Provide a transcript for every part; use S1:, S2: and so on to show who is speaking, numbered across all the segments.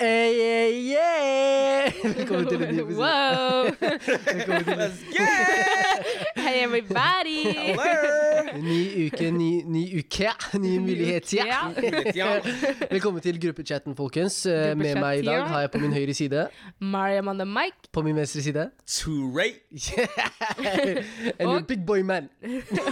S1: yeah, yeah! Velkommen til en ny episode.
S2: Wow!
S1: Velkommen til en
S3: Let's go!
S2: Hey everybody!
S3: Hello!
S1: ny uke, ny, ny uke, ny mulighet. Ja.
S3: Ja.
S1: Velkommen til gruppechatten, folkens. Eh, Med meg i dag har jeg på min høyre side,
S2: Mariam on the mic.
S1: på min venstre side
S3: Tourette.
S1: And your
S2: Og- Ah,
S1: big boy man,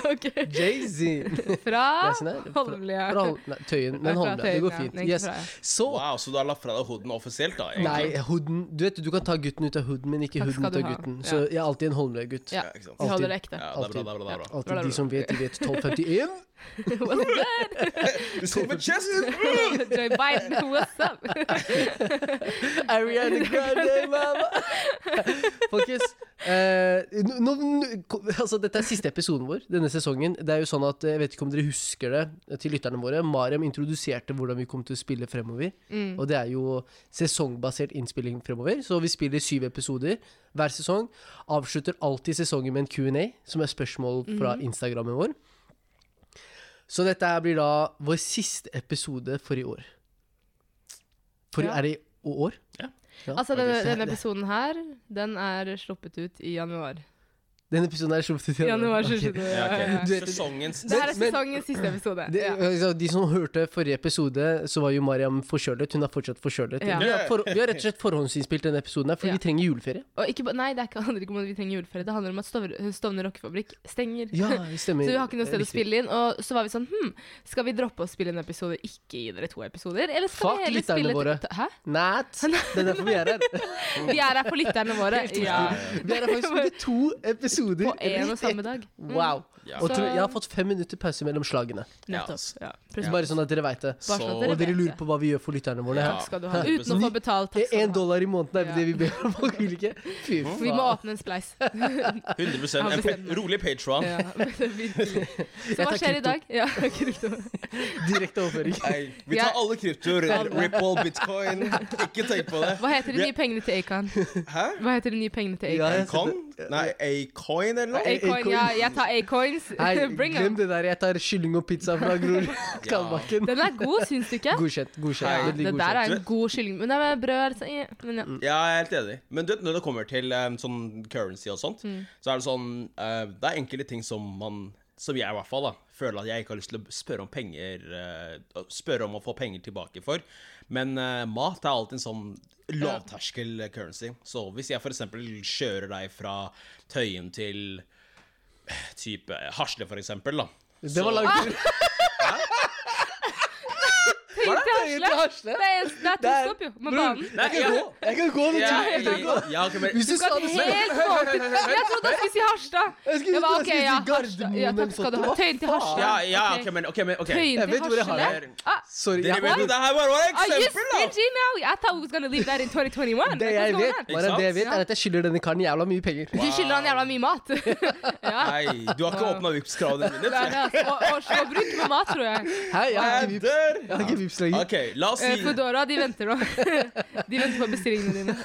S2: Ok.
S1: Jay-Z. sånn
S2: Fra
S1: Lesen her? Fra-
S2: Holmlia.
S1: fra Hol- Nei, Tøyen.
S2: Nei,
S1: Men
S2: fra
S1: Holmlia. Det går
S2: Tøyen, ja.
S1: fint.
S2: Nei, ikke
S1: Yes.
S2: fra-
S1: Så
S3: Wow, så du har lagt fra deg hooden offisielt, da? egentlig?
S1: Nei, hooden Du vet, du kan ta gutten ut av hooden, men ikke
S2: Takk
S1: hooden
S2: skal
S1: ut
S2: du
S1: av
S2: ha.
S1: gutten.
S2: Ja.
S1: Så jeg er alltid en Holmlia-gutt.
S2: Ja,
S3: Ja, ikke sant.
S2: vi holder det
S3: Ja,
S2: ekte.
S3: det er bra, det er bra. det er bra.
S1: Alltid de som vet, de vet. 1251.
S2: What's good?
S3: Du står med chest!
S2: Joy Biden, what's up?
S1: Ariana Grande, mamma! Folkens, eh, nå, nå, nå- altså, dette er siste episoden vår denne sesongen. Det er jo sånn at, eh, Jeg vet ikke om dere husker det eh, til lytterne våre. Mariam introduserte hvordan vi kom til å spille fremover. Og det er jo sesongbasert innspilling fremover. Så vi spiller syv episoder hver sesong. Avslutter alltid sesongen med en Q&A, som er spørsmål fra Instagrammen vår. Så dette her blir da vår siste episode for i år. For i-
S2: Ja.
S1: er det i år?
S2: Altså, denne, denne episoden her, den er sluppet ut i januar.
S1: Denne episoden er sluppet ut i
S2: Januar
S1: Ok.
S2: 27.
S3: Ja,
S2: Ja, ja,
S3: ok.
S2: ja.
S1: Du vet-
S3: Sesongens
S2: Det her er
S1: Men- men-
S2: sesongens siste episode.
S1: Det,
S2: Ja.
S1: altså, de som hørte forrige episode, så var jo Mariam forkjølet. Hun er fortsatt forkjølet.
S2: Ja.
S1: Vi, har for, vi har rett og slett forhåndsinnspilt denne episoden, her, for
S2: Ja.
S1: vi trenger juleferie.
S2: Og ikke, ba- nei, det er ikke- handler ikke om at vi trenger juleferie. Det handler om at Stovner, Stovner rockefabrikk stenger.
S1: Ja, det stemmer.
S2: Så vi har ikke noe sted å
S1: Riktig.
S2: spille inn. Og så var vi sånn Hm, skal vi droppe å spille en episode, ikke gi dere to episoder? Eller skal
S1: Fuck
S2: vi heller
S1: lytterne
S2: spille
S1: våre.
S2: Hæ?
S1: Nat! Det er derfor vi er her.
S2: Vi er her for lytterne våre. Ja.
S1: Vi er her faktisk med to episoder.
S2: På en og
S1: rett
S2: samme
S1: etter-
S2: dag.
S1: Wow.
S3: Ja.
S1: Og
S2: Så-
S1: tror, jeg har fått fem minutter pause mellom slagene.
S2: Nettopp.
S3: ass.
S2: Ja.
S1: Så Bare sånn at dere veit det.
S2: Bare sånn at
S1: Og
S2: dere
S1: dere
S2: vet
S1: lurer
S2: det.
S1: på hva vi gjør for lytterne våre.
S3: Ja.
S1: her.
S2: Takk skal du ha. Uten å få betalt. Takk
S1: Én
S2: skal du ha.
S1: dollar i måneden er
S2: Ja.
S1: det vi ber om. folk vil ikke. Fy faen.
S2: Vi må åpne en spleis.
S3: 100 en
S2: Han bestemmer.
S3: pa rolig Patron.
S2: Ja, virkelig. Så
S1: Jeg
S2: hva
S1: tar
S2: skjer i
S1: krypto.
S2: dag? Ja, krypto.
S1: Direkte overføring.
S3: Vi
S2: Ja.
S3: tar alle kryptoer.
S2: Alle.
S3: Ripple, bitcoin. Ikke tenk på det.
S2: Hva heter de nye pengene til Acon?
S3: Hæ?
S2: Hva heter de nye pengene til
S1: Ja,
S2: Acon?
S1: jeg
S3: Acon? Nei, Acoin eller noe?
S2: Acon, ja, jeg tar Acoins.
S1: Nei,
S2: Bring
S1: glem
S2: them.
S1: det der. Jeg tar kylling og pizza fra Gror Kalbakken.
S2: Den er god, syns du ikke?
S1: Godkjent. godkjent.
S2: Ja,
S1: Veldig
S2: det der
S1: godkjent.
S2: er en god kylling. Men det er med brød altså, eh, men ja.
S3: Ja, jeg er helt enig. Men du vet, når det kommer til em, sånn currency og sånt, så er det sånn eh, Det er enkelte ting som man Som jeg i hvert fall da føler at jeg ikke har lyst til å spørre om penger eh, Spørre om å få penger tilbake for. Men eh, mat er alltid en sånn lavterskel currency. Så hvis jeg f.eks. kjører deg fra Tøyen til eh, type Hasle, for eksempel, da.
S1: Det var langt ut.
S2: Tenk til
S1: Tenk til Hasle.
S2: Hasle. Det er, det er to
S1: Der.
S2: stopp, jo. Med
S1: Bror,
S2: banen.
S3: Nei,
S1: Jeg kan gå. Jeg kan gå om
S3: Ja,
S1: to- jeg kan gå.
S3: ja, ok, men-
S1: Hvis du
S2: Du
S1: sa
S2: kan
S1: det selv
S2: helt gå til Jeg trodde jeg skulle si Harstad.
S1: Jeg skulle-
S2: var,
S1: jeg
S2: ok,
S1: skulle si
S2: ja,
S1: Gardermoen
S2: Harstad. Ja,
S1: eller
S2: takk skal du
S1: sånt.
S2: ha. Tøyen til
S1: Hva faen?
S2: Harstad.
S3: ja, ja,
S2: Ok.
S3: ok, men, ok, men ok. Eh,
S2: Tøyen
S1: Jeg
S2: til
S1: vet hvor jeg har
S2: Hasle.
S3: det.
S2: Ah,
S1: Sorry.
S3: Dere
S1: Jeg,
S3: vet jo, det her var bare et
S2: ah, you
S3: eksempel, da!
S2: stingy now! I thought we was gonna leave that in
S1: det
S2: 2021.
S1: jeg vet,
S3: Ikke
S1: bare
S3: sant?
S1: det jeg vet, er at jeg skylder denne karen jævla mye penger.
S2: Du skylder han jævla mye mat. ja.
S3: Nei, du har ikke åpna Vipps-kravene
S2: Ah. Det
S3: mine.
S2: er det, altså. Og, og slåbruk med mat, tror jeg.
S1: Hei, jeg har ikke
S3: Jeg
S1: vips,
S3: dør!
S1: jeg har ikke vips lenger.
S3: Ok, la oss
S2: Eh,
S3: si
S2: Foodora, de venter nå. de venter på bestillingene dine.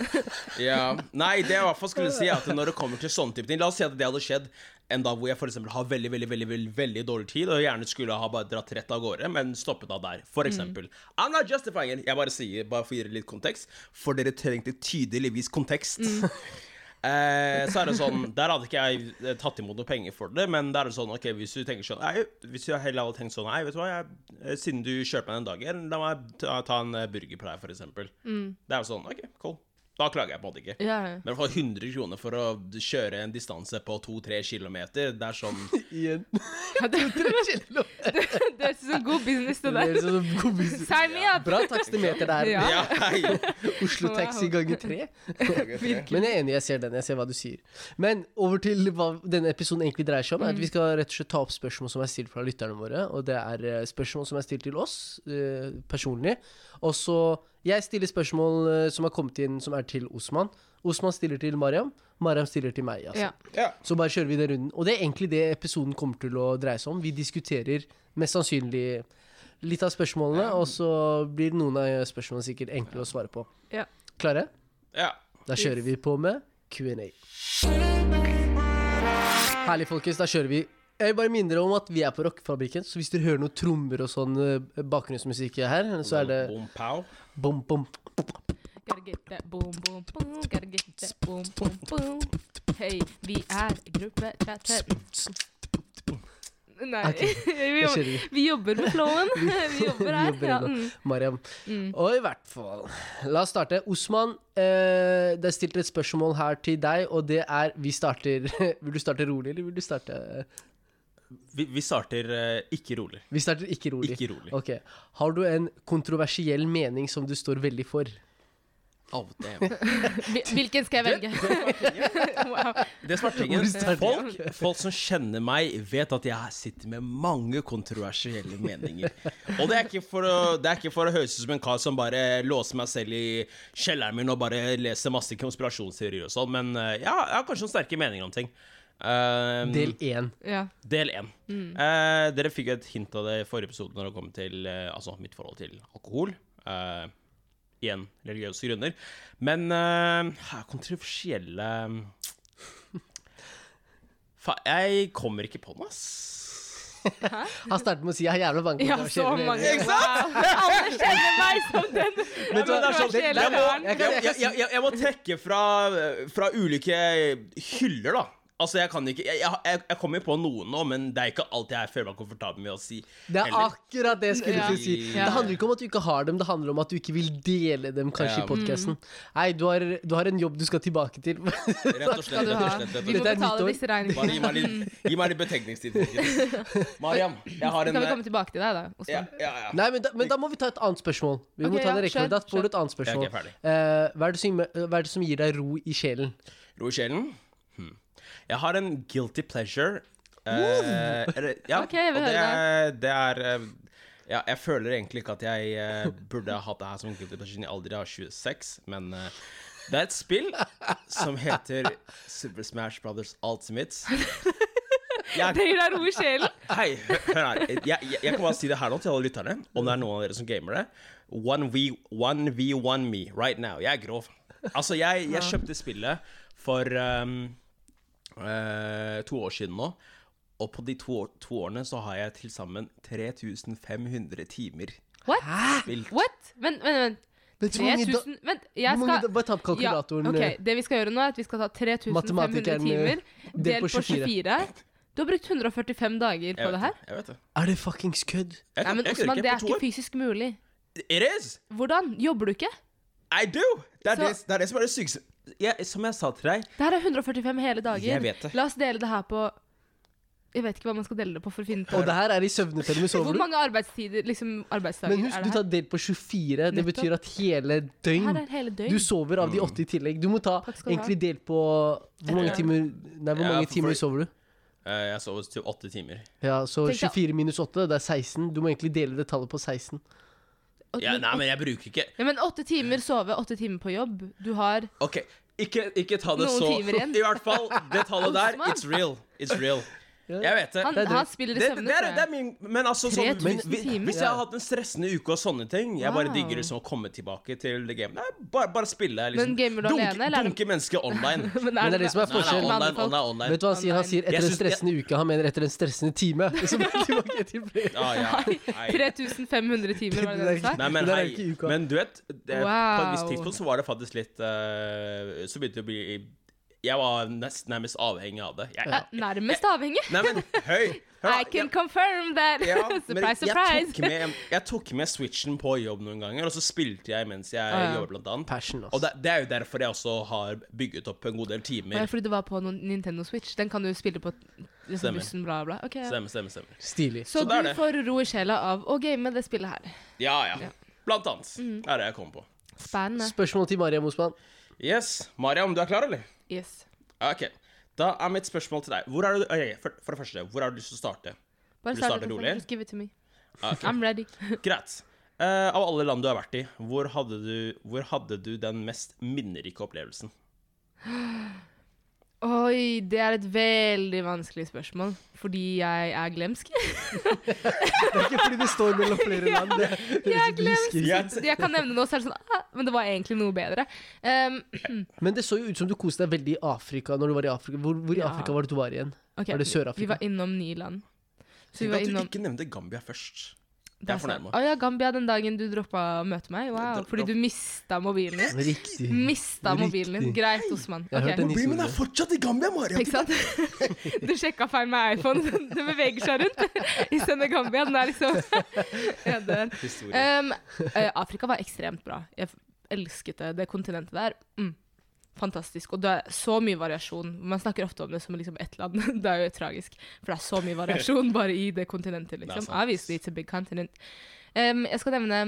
S3: ja. Nei, det jeg i hvert fall skulle si er at når det kommer til sånne type ting La oss si at det hadde skjedd en dag hvor jeg for eksempel har veldig veldig, veldig, veldig, veldig dårlig tid og gjerne skulle ha bare dratt rett av gårde, men stoppet av der.
S2: Mhm.
S3: For eksempel. I'm not justifying it. Jeg bare sier, bare for å gi det litt kontekst, for dere trengte tydeligvis kontekst.
S2: Mhm.
S3: Eh, så er det sånn Der hadde ikke jeg eh, tatt imot noe penger for det, men da er det sånn Ok, hvis du tenker sånn Nei, hvis du heller hadde tenkt sånn Nei, vet du hva, jeg, eh, siden du kjøper meg den dagen, la meg ta, ta en eh, burger på deg, for eksempel. Det er jo sånn OK, cool. Da klager jeg på det ikke.
S2: Ja.
S3: Men i hvert fall 100 kroner for å kjøre en distanse på 2-3 km. Det er sånn
S1: Igjen.
S2: Det, det er sånn god business, det
S1: Det er
S2: der.
S1: sånn kompis.
S2: Sign me up!
S1: Bra takstimeter der.
S2: Ja.
S3: Ja, hei!
S1: Oslo Taxi
S2: Wow.
S1: ganger tre. Men jeg er enig, jeg ser den. Jeg ser hva du sier. Men over til hva denne episoden egentlig dreier seg om, er at vi skal rett og slett ta opp spørsmål som er stilt fra lytterne våre. Og det er eh, spørsmål som er stilt til oss eh, personlig. Og så Jeg stiller spørsmål eh, som har kommet inn, som er til Osman. Osman stiller til Mariam. Mariam stiller til meg. altså.
S2: Ja.
S3: Ja.
S1: Så bare kjører vi den runden. Og det er egentlig det episoden kommer til å dreie seg om. Vi diskuterer mest sannsynlig litt av spørsmålene, og så blir noen av spørsmålene sikkert enkle å svare på.
S2: Ja.
S1: Klare?
S3: ja.
S1: Da kjører vi på med Q&A. Herlig, folkens. Da kjører vi. Jeg vil bare minne dere om at vi er på Rockefabrikken, så hvis dere hører noe trommer og sånn eh, bakgrunnsmusikk her, så er det
S3: Bom, pow.
S1: bom, bom.
S2: Gotta that boom, boom, boom. Gotta get that boom, boom, boom. Hei, vi er gruppe chat chat. Nei,
S1: Ok,
S2: vi,
S1: Jeg
S2: jobber,
S1: skjønner ikke.
S2: vi jobber med flowen. vi jobber her.
S1: jobber
S2: ja,
S1: med
S2: mm,
S1: Mariam.
S2: mm.
S1: Og i hvert fall La oss starte. Osman, eh, det er stilt et spørsmål her til deg, og det er Vi starter Vil du starte rolig, eller vil du starte eh,
S3: Vi, vi starter eh, ikke rolig.
S1: Vi starter ikke rolig.
S3: Ikke rolig.
S1: Ok. Har du en kontroversiell mening som du står veldig for?
S3: Oh, damn.
S2: Hvil- Hvilken skal jeg velge? wow.
S3: Det som er tingen,
S1: Hvor sterkt.
S3: folk, folk som kjenner meg, vet at jeg sitter med mange kontroversielle meninger. Og det er ikke for å, det er ikke for å høres ut som en kar som bare låser meg selv i kjelleren min og bare leser masse konspirasjonsteorier og sånn, men eh, ja, jeg har kanskje noen sterke meninger om ting. Um,
S1: Del én.
S2: Ja.
S3: Del én.
S2: Mm.
S3: Eh, dere fikk jo et hint av det i forrige episode når det kom til eh, altså mitt forhold til alkohol. Eh, igjen religiøse grunner. Men eh, her er kontroversielle eh, Fa, Jeg kommer ikke på noe, ass.
S1: Han startet med å si 'jeg har jævla mange
S2: ja, så
S1: kontroversielle
S2: mange.
S1: meninger'.
S3: Ikke sant?
S2: Wow. Alle kjenner meg som den
S3: Vet du hva, det er sånn-
S2: kontroversielle
S3: jeg må-
S2: karen.
S1: jeg
S3: Jeg, jeg, jeg, jeg må trekke fra, fra ulike hyller, da. Altså, jeg kan ikke Jeg, jeg, jeg kommer på noen nå, men det er ikke alt jeg føler meg komfortabel med å si.
S1: Det er
S3: heller.
S1: akkurat det jeg skulle
S2: Ja.
S1: til å si.
S2: Ja.
S1: Det handler ikke om at du ikke har dem, det handler om at du ikke vil dele dem kanskje
S3: Ja.
S1: i
S2: Mm.
S1: podkasten. Nei, du har, du har en jobb du skal tilbake til.
S3: Rett og slett.
S2: Skal du
S3: Rett og
S2: ha?
S3: slett, rett og
S2: Vi må
S1: Dette er
S2: betale
S1: nyttår.
S2: disse
S3: Bare gi
S2: regningene.
S3: meg litt, gi meg litt betenkningstid. folkens. Mariam, jeg har
S2: Så
S3: en eh,
S2: kan vi komme tilbake til deg, da,
S3: ja,
S2: Osman.
S3: ja, ja.
S1: Nei, men da, men da må vi ta et annet spørsmål. Vi må
S2: Ok,
S1: ta
S2: ja,
S1: det
S2: kjør,
S1: rekkefølge. Da får
S2: kjør.
S1: du et annet
S3: Jeg
S1: spørsmål.
S3: er ikke ferdig.
S1: Eh, hva, er det som, hva er det som gir deg ro i sjelen?
S3: Ro i sjelen. Hm. Jeg har en guilty pleasure. Eh, eller- ja,
S2: Ok, jeg vil
S3: og det
S2: høre
S3: er, det er eh, ja, Jeg føler egentlig ikke at jeg eh, burde hatt det her som guilty pleasure siden jeg aldri har 26, men eh, det er et spill som heter Super Smash Brothers Ultimate. Jeg
S2: Det gir deg ro i sjelen.
S3: Hei, hør hør her. Jeg, jeg, jeg kan bare si det her nå til alle lytterne, om det er noen av dere som gamer det. 1v, 1v1 me right now. Jeg er grov. Altså, jeg, jeg kjøpte spillet for um, eh, to år siden nå. Og på de to, år- to årene så har jeg til sammen 3500 timer
S2: What?
S3: spilt.
S2: What? Vent, vent, vent.
S1: Vet du hvor mange da-
S2: 3000 Vent, jeg
S1: Hvor
S2: skal
S1: mange da- bare ta opp kalkulatoren,
S2: Ja,
S1: eh.
S2: ok, Det vi skal gjøre nå, er at vi skal ta 3500
S1: Matematikeren, eh,
S2: timer delt på 24. Du har brukt 145 dager
S3: Jeg
S2: på det
S3: vet
S2: her.
S3: det. Jeg vet det.
S1: Er det fuckings kødd?
S3: Jeg,
S2: Nei, men
S3: jeg klarer
S2: Osman, det er
S3: på to
S2: ikke
S3: år.
S2: fysisk mulig.
S3: It is!
S2: Hvordan? Jobber du ikke?
S3: I do! Det er,
S2: Så-
S3: det, det, er det som er det sykeste. Jeg, som jeg sa til deg,
S2: Det her er 145 hele dager.
S3: Jeg vet det.
S2: La oss dele det her på Jeg vet ikke hva man skal dele det på for å finne ut
S1: Og det her er i søvnefelle med
S2: Hvor
S1: sover du?
S2: mange arbeidstider, liksom arbeidsdager
S1: Men husk, du
S2: er det
S1: tar
S2: her?
S1: delt på 24. Det
S2: Nettopp.
S1: betyr at hele døgn.
S2: Her er hele døgn.
S1: Du sover av de
S3: Mm.
S1: åtte i tillegg. Du må ta
S2: Takk skal du ha.
S1: egentlig delt på Hvor mange
S3: døgn.
S1: timer Nei, hvor
S3: Ja,
S1: mange
S3: for-
S1: timer sover du?
S3: eh, jeg sov til åtte timer.
S1: Ja, så
S2: Tenk deg-
S1: 24 minus 8, det er 16. Du må egentlig dele det tallet på 16.
S2: Og-
S3: Ja,
S2: men-
S3: nei, men jeg bruker ikke
S2: Ja, men åtte timer sove, åtte timer på jobb. Du har
S3: Ok, ikke, ikke ta det
S2: Noen
S3: så
S2: timer igjen.
S3: I hvert fall, det tallet der,
S2: Osman.
S3: it's real. It's real. Jeg vet det.
S2: Han,
S1: Det er det.
S2: han spiller i
S3: Det,
S2: søvne.
S3: det, er,
S2: tror jeg.
S3: det er min Men altså, sånn,
S2: 3000
S3: hvis, hvis
S2: timer.
S3: hvis jeg har hatt en stressende uke og sånne ting Jeg bare
S2: Wow.
S3: digger liksom å komme tilbake til det gamet. Nei, Bare, bare spille. Liksom.
S2: Men gamer du
S3: dunke,
S2: alene, eller er det-
S3: dunke mennesker online. Nei,
S2: Men
S1: Men det er det som er
S3: nei,
S1: forskjellen.
S2: med andre
S3: online,
S2: folk?
S3: online, online.
S1: Vet du hva han sier? Han sier
S3: Jeg
S1: etter en
S3: syns- jeg-
S1: stressende uke. Han mener etter en stressende time. Så må jeg tilbake til flere.
S3: Ja, Ah, ja. Nei.
S2: 3500 timer, var det det du sa?
S3: Nei, men
S1: Det er
S3: hei.
S1: ikke uka.
S3: Men du vet, det, på et visst
S2: Wow.
S3: tidspunkt så var det faktisk litt eh, Så begynte det å bli Jeg var nest, nærmest avhengig av det. Jeg,
S2: Ja, Nærmest avhengig.
S3: Nei, men høy!
S2: I can confirm that.
S3: Ja, men
S2: surprise,
S3: Jeg
S2: surprise.
S3: tok, med, jeg tok med switchen på jobb noen ganger, og så spilte jeg mens jeg
S2: Ah, ja.
S3: jobber, blant annet.
S1: Passion,
S3: Og
S1: altså.
S3: det, det er jo derfor jeg også har bygget opp en god del
S2: Ja,
S3: timer.
S2: fordi det var på noen Nintendo Switch. Den kan du spille på liksom,
S3: Stemmer.
S2: bussen, bla, bla. Ok, ja.
S3: Stemmer, stemmer, stemmer.
S1: Stilig.
S2: Så,
S3: Så det er
S2: du
S3: det.
S2: får ro i sjela av å game det spillet her.
S3: Ja, ja. Blant annet.
S2: Mm.
S3: Det er det jeg kom på.
S2: Spennende.
S1: Spørsmål til Mariam Osman.
S3: Yes. Mariam, du er klar, eller?
S2: Yes.
S3: Ok. Da er mitt spørsmål til deg. Hvor er du, ok, for, for det første, hvor har du lyst til å starte?
S2: Bare
S3: Vil du
S2: start
S3: starte
S2: med
S3: rolig? Ah,
S2: telefonen, Just give it to me.
S3: Ok.
S2: I'm ready.
S3: Greit. Eh, av alle land du har vært i, hvor hadde du, hvor hadde du den mest minnerike opplevelsen?
S2: Oi, det er et veldig vanskelig spørsmål, fordi jeg er glemsk.
S1: Det er ikke fordi det står mellom flere land. Det, det, det,
S2: Jeg
S1: du husker ikke.
S3: Yes.
S2: Jeg kan nevne noe, så er det sånn ah, Men det var egentlig noe bedre. Um,
S1: Men det så jo ut som du koste deg veldig i Afrika. Når du var i Afrika. Hvor, hvor i
S2: Ja.
S1: Afrika var det du var igjen?
S2: ok,
S1: Var det Sør-Afrika?
S2: Vi var innom Nyland. Så vi
S3: Tenk
S2: var
S3: at du
S2: innom
S3: ikke nevnte Gambia først. Jeg er fornærma.
S2: Å ja, Gambia, den dagen du droppa å møte meg? Wow.
S3: Dropp-
S2: Fordi du mista mobilen din?
S1: Riktig.
S2: Mista mobilen din.
S1: Riktig.
S2: Greit, Osman.
S1: Jeg har hørt
S2: Ok.
S1: en historie.
S3: fortsatt i Gambia, Maria.
S2: Ikke sant? Du sjekka feil med iPhone. Den den beveger seg rundt i Senegambia. Den er liksom Ja, den.
S3: Historie.
S2: Um, eh, Afrika var ekstremt bra. Jeg f- elsket det, det kontinentet der. Mm. Fantastisk. Og det er så mye variasjon. Man snakker ofte om det som liksom ett land. Det er jo tragisk, for det er så mye variasjon bare i det kontinentet.
S3: Det er
S2: liksom.
S3: sant.
S2: Obviously, it's a big continent. Um, jeg skal nevne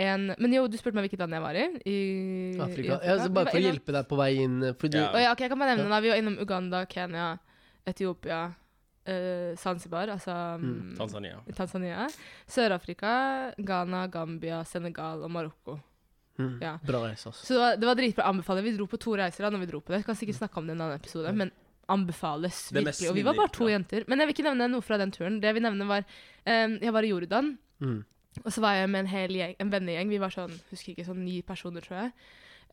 S2: en Men jo, du spurte meg hvilket land jeg var i. i I
S1: Afrika. Ja, altså,
S2: Vi var
S1: bare for å
S2: innom-
S1: hjelpe deg på vei inn. For du,
S3: Ja.
S2: Å ja, ok, jeg kan bare nevne
S1: Ja.
S2: den da. Vi var innom Uganda, Kenya, Etiopia, eh, Zanzibar, altså
S1: Mm.
S2: mm,
S3: Tanzania.
S2: Tanzania, Sør-Afrika, Ghana, Gambia, Senegal og Marokko.
S1: Mm.
S2: Ja.
S1: Bra reise, altså.
S2: Så det var, det var dritbra. Anbefaler. Vi dro på to reiser da når vi dro på det. Jeg kan sikkert snakke om det i en annen episode, men anbefales
S3: Det mest
S2: virkelig. Og vi var bare to
S3: sinnevirkende.
S2: jenter. Men jeg vil ikke nevne noe fra den turen. Det jeg vil nevne, var eh, Jeg var i Jordan.
S1: Mm.
S2: Og så var jeg med en hel gjeng, en vennegjeng. Vi var sånn, husker ikke, sånn ni personer, tror jeg.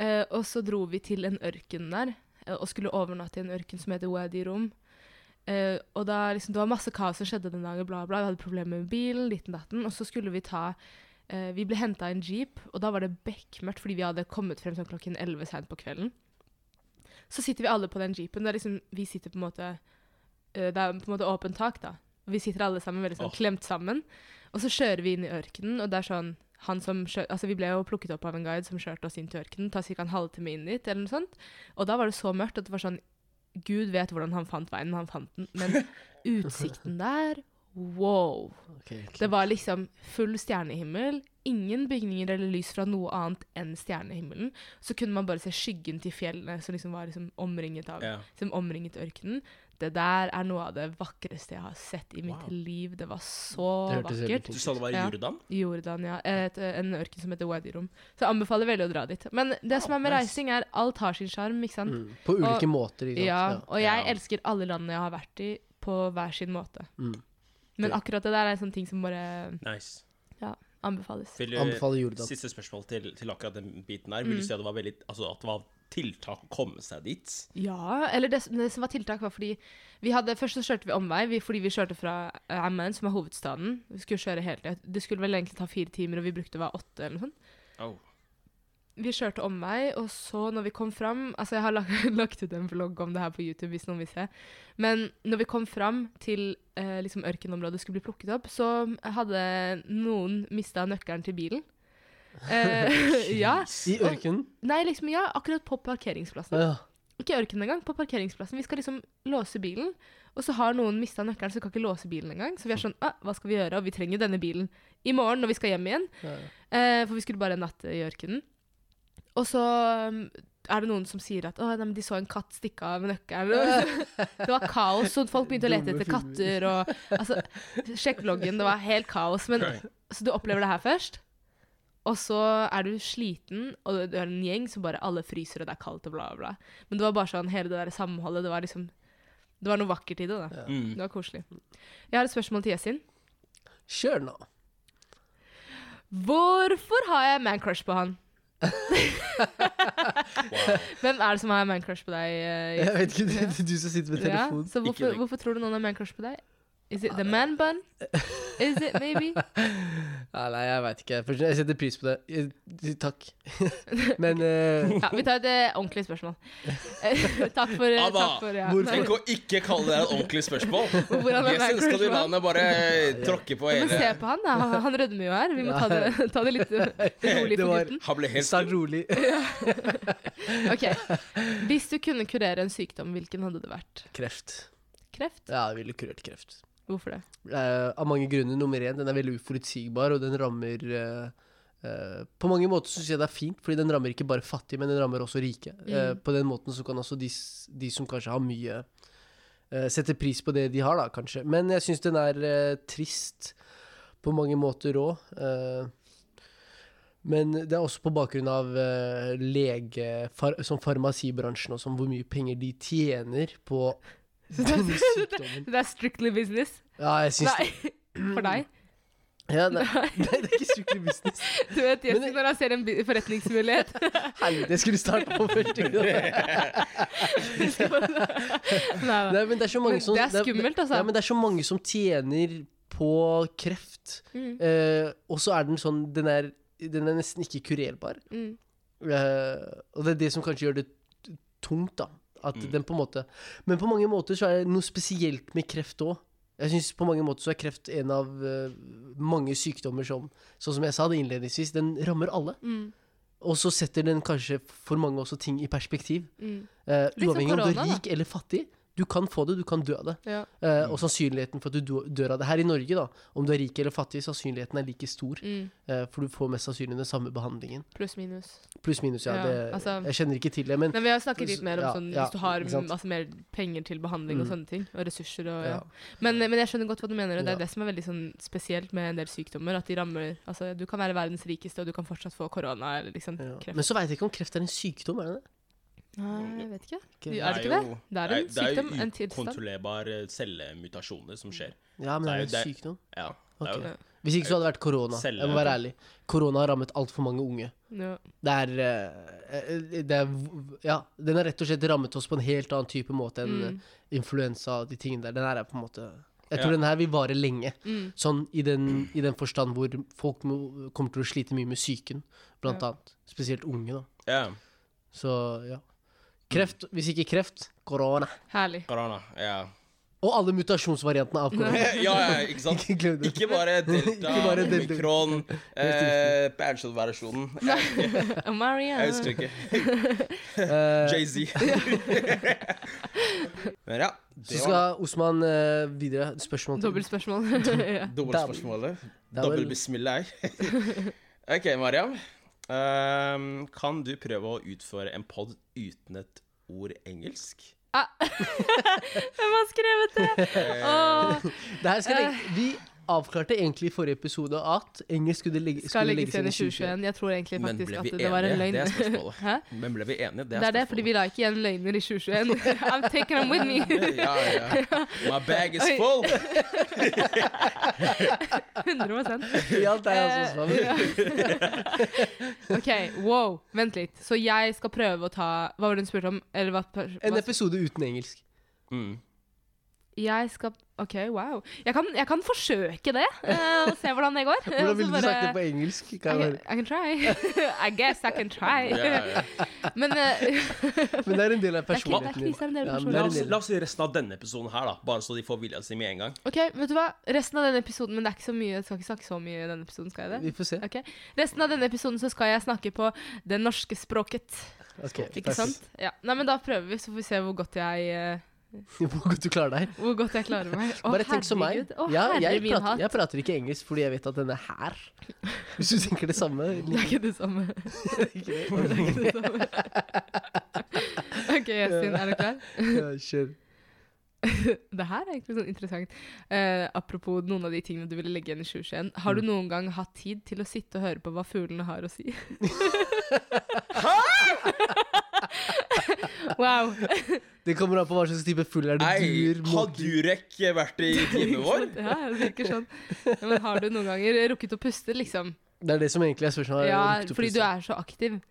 S2: Eh, og så dro vi til en ørken der, eh, og skulle overnatte i en ørken som heter Wadi Rum. Eh, og da, liksom, det var masse kaos som skjedde den dagen, bla bla. Vi hadde problemer med bilen, liten datten. Og så skulle vi ta eh, Vi ble henta i en jeep, og da var det bekmørkt fordi vi hadde kommet frem sånn klokken 11 seint på kvelden. Så sitter vi alle på den jeepen. Det er liksom, vi sitter på en måte eh, Det er på en måte åpent tak, da. Vi sitter alle sammen veldig sånn
S3: Åh.
S2: klemt sammen. Og så kjører vi inn i ørkenen, og det er sånn han som kjø altså Vi ble jo plukket opp av en guide som kjørte oss inn til ørkenen. Det tar ca. en halvtime inn dit, eller noe sånt. Og da var det så mørkt at det var sånn Gud vet hvordan han fant veien, han fant den. Men utsikten der Wow.
S1: Ok,
S2: Det var liksom full stjernehimmel. Ingen bygninger eller lys fra noe annet enn stjernehimmelen. Så kunne man bare se skyggen til fjellene som liksom var liksom omringet av
S3: Ja.
S2: som omringet ørkenen. Det der er noe av det vakreste jeg har sett i mitt
S3: Wow.
S2: liv. Det var så
S1: Det hørtes helt
S2: vakkert.
S3: Du
S1: utrolig
S3: sa det var i
S2: Ja.
S3: Jordan?
S2: I Jordan, ja. Et, en ørken som heter Wadirum. Så jeg anbefaler veldig å dra dit. Men det som er med
S3: nice.
S2: reising, er alt har sin sjarm, ikke sant?
S1: Mm. På ulike måter, ikke sant.
S2: Ja, og jeg
S3: Ja.
S2: elsker alle landene jeg har vært i, på hver sin måte.
S1: Mm.
S2: Men akkurat det der er en sånn ting som bare
S3: Nice.
S2: anbefales.
S3: Vil du,
S1: Anbefaler Jordan.
S3: siste spørsmål til, til akkurat den biten her. Vil
S2: Mm.
S3: du si at det var veldig Altså at det var tiltak å komme seg dit?
S2: Ja, eller det, det som var tiltak var fordi vi hadde, Først så kjørte vi omvei vi, fordi vi kjørte fra eh, Amman, som er hovedstaden. Vi skulle kjøre hele tiden. Det skulle vel egentlig ta fire timer, og vi brukte hver åtte eller noe sånt.
S3: Oh.
S2: Vi kjørte omvei, og så når vi kom fram Altså, jeg har lagt, lagt ut en vlogg om det her på YouTube hvis noen vil se. Men når vi kom fram til eh, liksom ørkenområdet skulle bli plukket opp, så hadde noen mista nøkkelen til bilen. Eh, ja.
S1: I ørkenen?
S2: Nei, liksom, ja, akkurat på parkeringsplassen.
S1: Ja.
S2: Ikke i ørkenen engang, på parkeringsplassen. Vi skal liksom låse bilen, og så har noen mista nøkkelen, så vi kan ikke låse bilen engang. Så vi er sånn ah, Hva skal vi gjøre? Og vi trenger jo denne bilen i morgen når vi skal hjem igjen.
S1: Ja.
S2: Eh, for vi skulle bare en natt i ørkenen. Og så um, er det noen som sier at å, nei, men de så en katt stikke av nøkkelen. det var kaos, og folk begynte å lete
S1: Dumme
S2: etter
S1: filmer.
S2: katter og altså, Sjekk vloggen, det var helt kaos. Men,
S3: Ok.
S2: så du opplever det her først. Og så er du sliten, og du er en gjeng som bare alle fryser, og det er kaldt og bla, bla, bla. Men det var bare sånn, hele det der samholdet, det var liksom Det var noe vakkert i det, da.
S3: Mm.
S2: Det var koselig. Jeg har et spørsmål til Yesin.
S1: Kjør nå.
S2: Hvorfor har jeg man-crush på han?
S3: Wow.
S2: Hvem er det som har man-crush på deg? eh,
S1: Jeg vet ikke, det er du som sitter med
S2: Ja,
S1: telefonen.
S2: så hvorfor,
S3: deg.
S2: hvorfor tror du noen har man-crush på deg? Is
S1: Ah,
S2: it the man bun? Is it maybe?
S1: Nei, nei, jeg veit ikke. Først, Jeg setter pris på det. Jeg- Takk. Men eh,
S2: Ja, vi tar et eh, ordentlig spørsmål. Eh, takk for, eh,
S3: Abba,
S2: takk for ja.
S1: hvorfor-
S2: Nei,
S3: Tenk å ikke kalle det et ordentlig spørsmål.
S2: Hvorfor har man
S3: Jeg syns
S2: man-crush på han?
S3: skandinavene bare tråkker på
S2: Men se
S3: hele
S2: på han, da. Han- Han rødmer jo her. Vi må ta det, ta det litt rolig
S1: Det
S2: for
S1: var-
S2: gutten.
S3: Han ble helt
S1: start rolig.
S2: Ok, Hvis du kunne kurere en sykdom, hvilken hadde det vært?
S1: Kreft.
S2: Kreft?
S1: Ja, jeg ville kurert kreft.
S2: Hvorfor det?
S1: Eh, av mange grunner. Nummer én, den er veldig uforutsigbar, og den rammer eh, eh, På mange måter syns jeg det er fint, fordi den rammer ikke bare fattige, men den rammer også rike. Eh, på den måten så kan også de, s- de som kanskje har mye, eh, sette pris på det de har, da, kanskje. Men jeg syns den er eh, trist på mange måter òg. men det er også på bakgrunn av eh, lege... Far, som farmasibransjen og sånn, hvor mye penger de tjener på denne sykdommen.
S2: Det er strictly business.
S1: Ja, jeg syns
S2: Nei, for deg.
S1: Ja, nei, nei, det er ikke strictly business.
S2: Du vet Jesse,
S1: Men-
S2: når han ser en bi- forretningsmulighet
S1: Helvete, jeg skulle starta på første gang.
S2: Nei, da.
S1: Nei, men det er så mange
S2: Men
S1: som
S2: det er skummelt, altså.
S1: Ja, men det er så mange som tjener på på kreft. Eh, og så er den sånn Den er, den er nesten ikke kurerbar.
S2: Mm.
S1: Eh, og det er det som kanskje gjør det t- tungt, da. At den på en måte Men på mange måter så er det noe spesielt med kreft òg. Jeg synes på mange måter så er kreft en av eh, mange sykdommer som Sånn som jeg sa det innledningsvis, den rammer alle.
S2: Mm.
S1: Og så setter den kanskje for mange også ting i perspektiv.
S2: Mm.
S1: Eh,
S2: Litt som
S1: uavhengig om du
S2: korona,
S1: er
S2: da. Mm.
S1: rik eller fattig, du kan få det, du kan dø av det.
S2: Ja.
S1: Eh, og sannsynligheten for at du dø- dør av det her i Norge, da, om du er rik eller fattig, sannsynligheten er like stor.
S2: Mm.
S1: eh, for du får mest sannsynlig den samme behandlingen.
S2: Pluss, minus.
S1: Pluss minus, ja.
S2: Ja,
S1: det,
S2: altså-
S1: jeg kjenner ikke til det, men
S2: Nei, vi har snakket litt mer om
S1: Ja,
S2: sånn,
S1: ja,
S2: hvis du har
S1: ikke sant. Mm.
S2: masse mer penger til behandling og sånne ting, og ressurser og ja.
S1: Ja.
S2: Men, men jeg skjønner godt hva du mener, og det
S1: Ja.
S2: er det som er veldig sånn, spesielt med en del sykdommer, at de rammer Altså, du kan være verdens rikeste, og du kan fortsatt få korona eller liksom
S1: ja.
S2: kreft.
S1: Men så veit jeg ikke om kreft er en sykdom, er det det?
S2: Nei, jeg vet ikke.
S1: Ikke-
S2: Du- Er det ikke det? Det er en sykdom, en
S3: Det er jo
S2: tilstand.
S3: ukontrollerbare cellemutasjoner som skjer.
S1: Ja, men
S3: Det er
S1: det
S3: jo
S1: er en
S3: det-
S1: sykdom.
S3: Ja, det er jo
S1: Ok.
S3: det.
S1: Hvis ikke så hadde det vært korona.
S3: Celle-
S1: Jeg må være ærlig. Korona har rammet altfor mange unge.
S2: Ja.
S1: Det er, eh, det er Ja, den har rett og slett rammet oss på en helt annen type måte enn
S2: Mm.
S1: eh, influensa og de tingene der. Den her er på en måte Jeg
S3: Ja.
S1: tror den her vil vare lenge.
S2: Mm.
S1: Sånn i den, i den forstand hvor folk må, kommer til å slite mye med psyken, blant annet. Spesielt unge, da.
S3: Ja,
S1: Så ja. Kreft, hvis ikke kreft, korona.
S2: Herlig.
S3: korona. Ja.
S1: Og alle mutasjonsvariantene av korona.
S3: ja, ja, ikke sant?
S1: Ikke glem det.
S3: Ikke bare delta,
S1: Ikke bare delta.
S3: omikron, eh, Banshot-versjonen.
S2: Og Maria.
S3: Jeg husker ikke.
S1: Eh,
S3: Jay-Z. Men ja, det var
S1: så skal Osman eh, videre. Spørsmål til
S2: Dobbeltspørsmål. ja.
S3: dobbeltspørsmålet.
S1: er vel-
S3: Dobbel bismillah. OK, Mariam. Ehm, kan du prøve å utføre en pod uten et ord engelsk?
S2: ah. Hvem har skrevet det? Åh,
S1: Det her skal
S2: Eh.
S1: legge, vi avklarte egentlig i forrige episode at engelsk skulle, legge,
S2: skal
S1: skulle
S2: legges
S1: legges
S2: igjen
S1: inn
S2: i 2021. Jeg tror egentlig
S3: Men
S2: faktisk
S3: ble
S2: at
S3: vi
S2: det var en
S3: enige?
S2: løgn.
S3: Det er spørsmålet.
S2: Hæ?
S3: Men ble vi enige?
S2: Det er det, fordi vi la ikke igjen løgner i 2021. I'm taking them with me.
S3: spørsmålet. ja, ja. My bag is
S2: Oi.
S3: full!
S2: 100
S1: Ja, det er altså også Osman.
S2: Eh, ja. OK, wow. Vent litt. Så jeg skal prøve å ta Hva var det hun spurte om? Eller hva, pers-
S1: En
S2: hva
S1: episode uten engelsk.
S3: Mm.
S2: Jeg skal OK, wow. Jeg kan, jeg kan forsøke det, eh, og se hvordan det går.
S1: Hvordan
S2: Og så
S1: ville du
S2: bare-
S1: snakke på engelsk? Kan jeg
S2: I, I can try. I guess I can try.
S3: Ja, ja, ja.
S2: Men eh,
S1: bare- Men det er en del av
S2: det er kri- det er
S1: personligheten din.
S2: krise en del
S1: Ja, men
S2: personer.
S3: La
S1: det er
S3: oss, la oss si resten av denne episoden her, da. Bare så de får vilja si med en gang.
S2: Ok, vet du hva? Resten av denne episoden Men det er ikke så mye, jeg skal ikke snakke så mye i denne episoden, skal jeg det?
S1: Vi får se.
S2: Ok, Resten av denne episoden så skal jeg snakke på det norske språket.
S1: Ok,
S2: Ikke
S1: takk.
S2: sant? Ja. Nei, men da prøver vi, så får vi se hvor godt jeg, eh,
S1: Hvor godt du klarer deg.
S2: hvor godt jeg klarer meg. Å,
S1: Bare tenk som meg.
S2: herregud. Å,
S1: Ja,
S2: herre
S1: jeg,
S2: min
S1: prater,
S2: hatt.
S1: jeg prater ikke engelsk fordi jeg vet at den er her. Hvis du tenker det samme.
S2: Det er ikke det samme. Det er ikke det samme. OK, Yasin, er du klar?
S1: Ja, Kjør.
S2: Det her er egentlig sånn interessant. Eh, apropos noen av de tingene du ville legge igjen i 2021. Har du noen gang hatt tid til å sitte og høre på hva fuglene har å si? wow.
S1: Det kommer an på hva slags type fugl er det
S3: Ei,
S1: dur,
S3: har
S1: måker
S3: Durek vært i teamet vår?
S2: Ja, det virker sånn. Ja, Men har du noen ganger rukket å puste, liksom?
S1: Det er det som egentlig er spørsmålet.
S2: Ja, fordi du er så aktiv.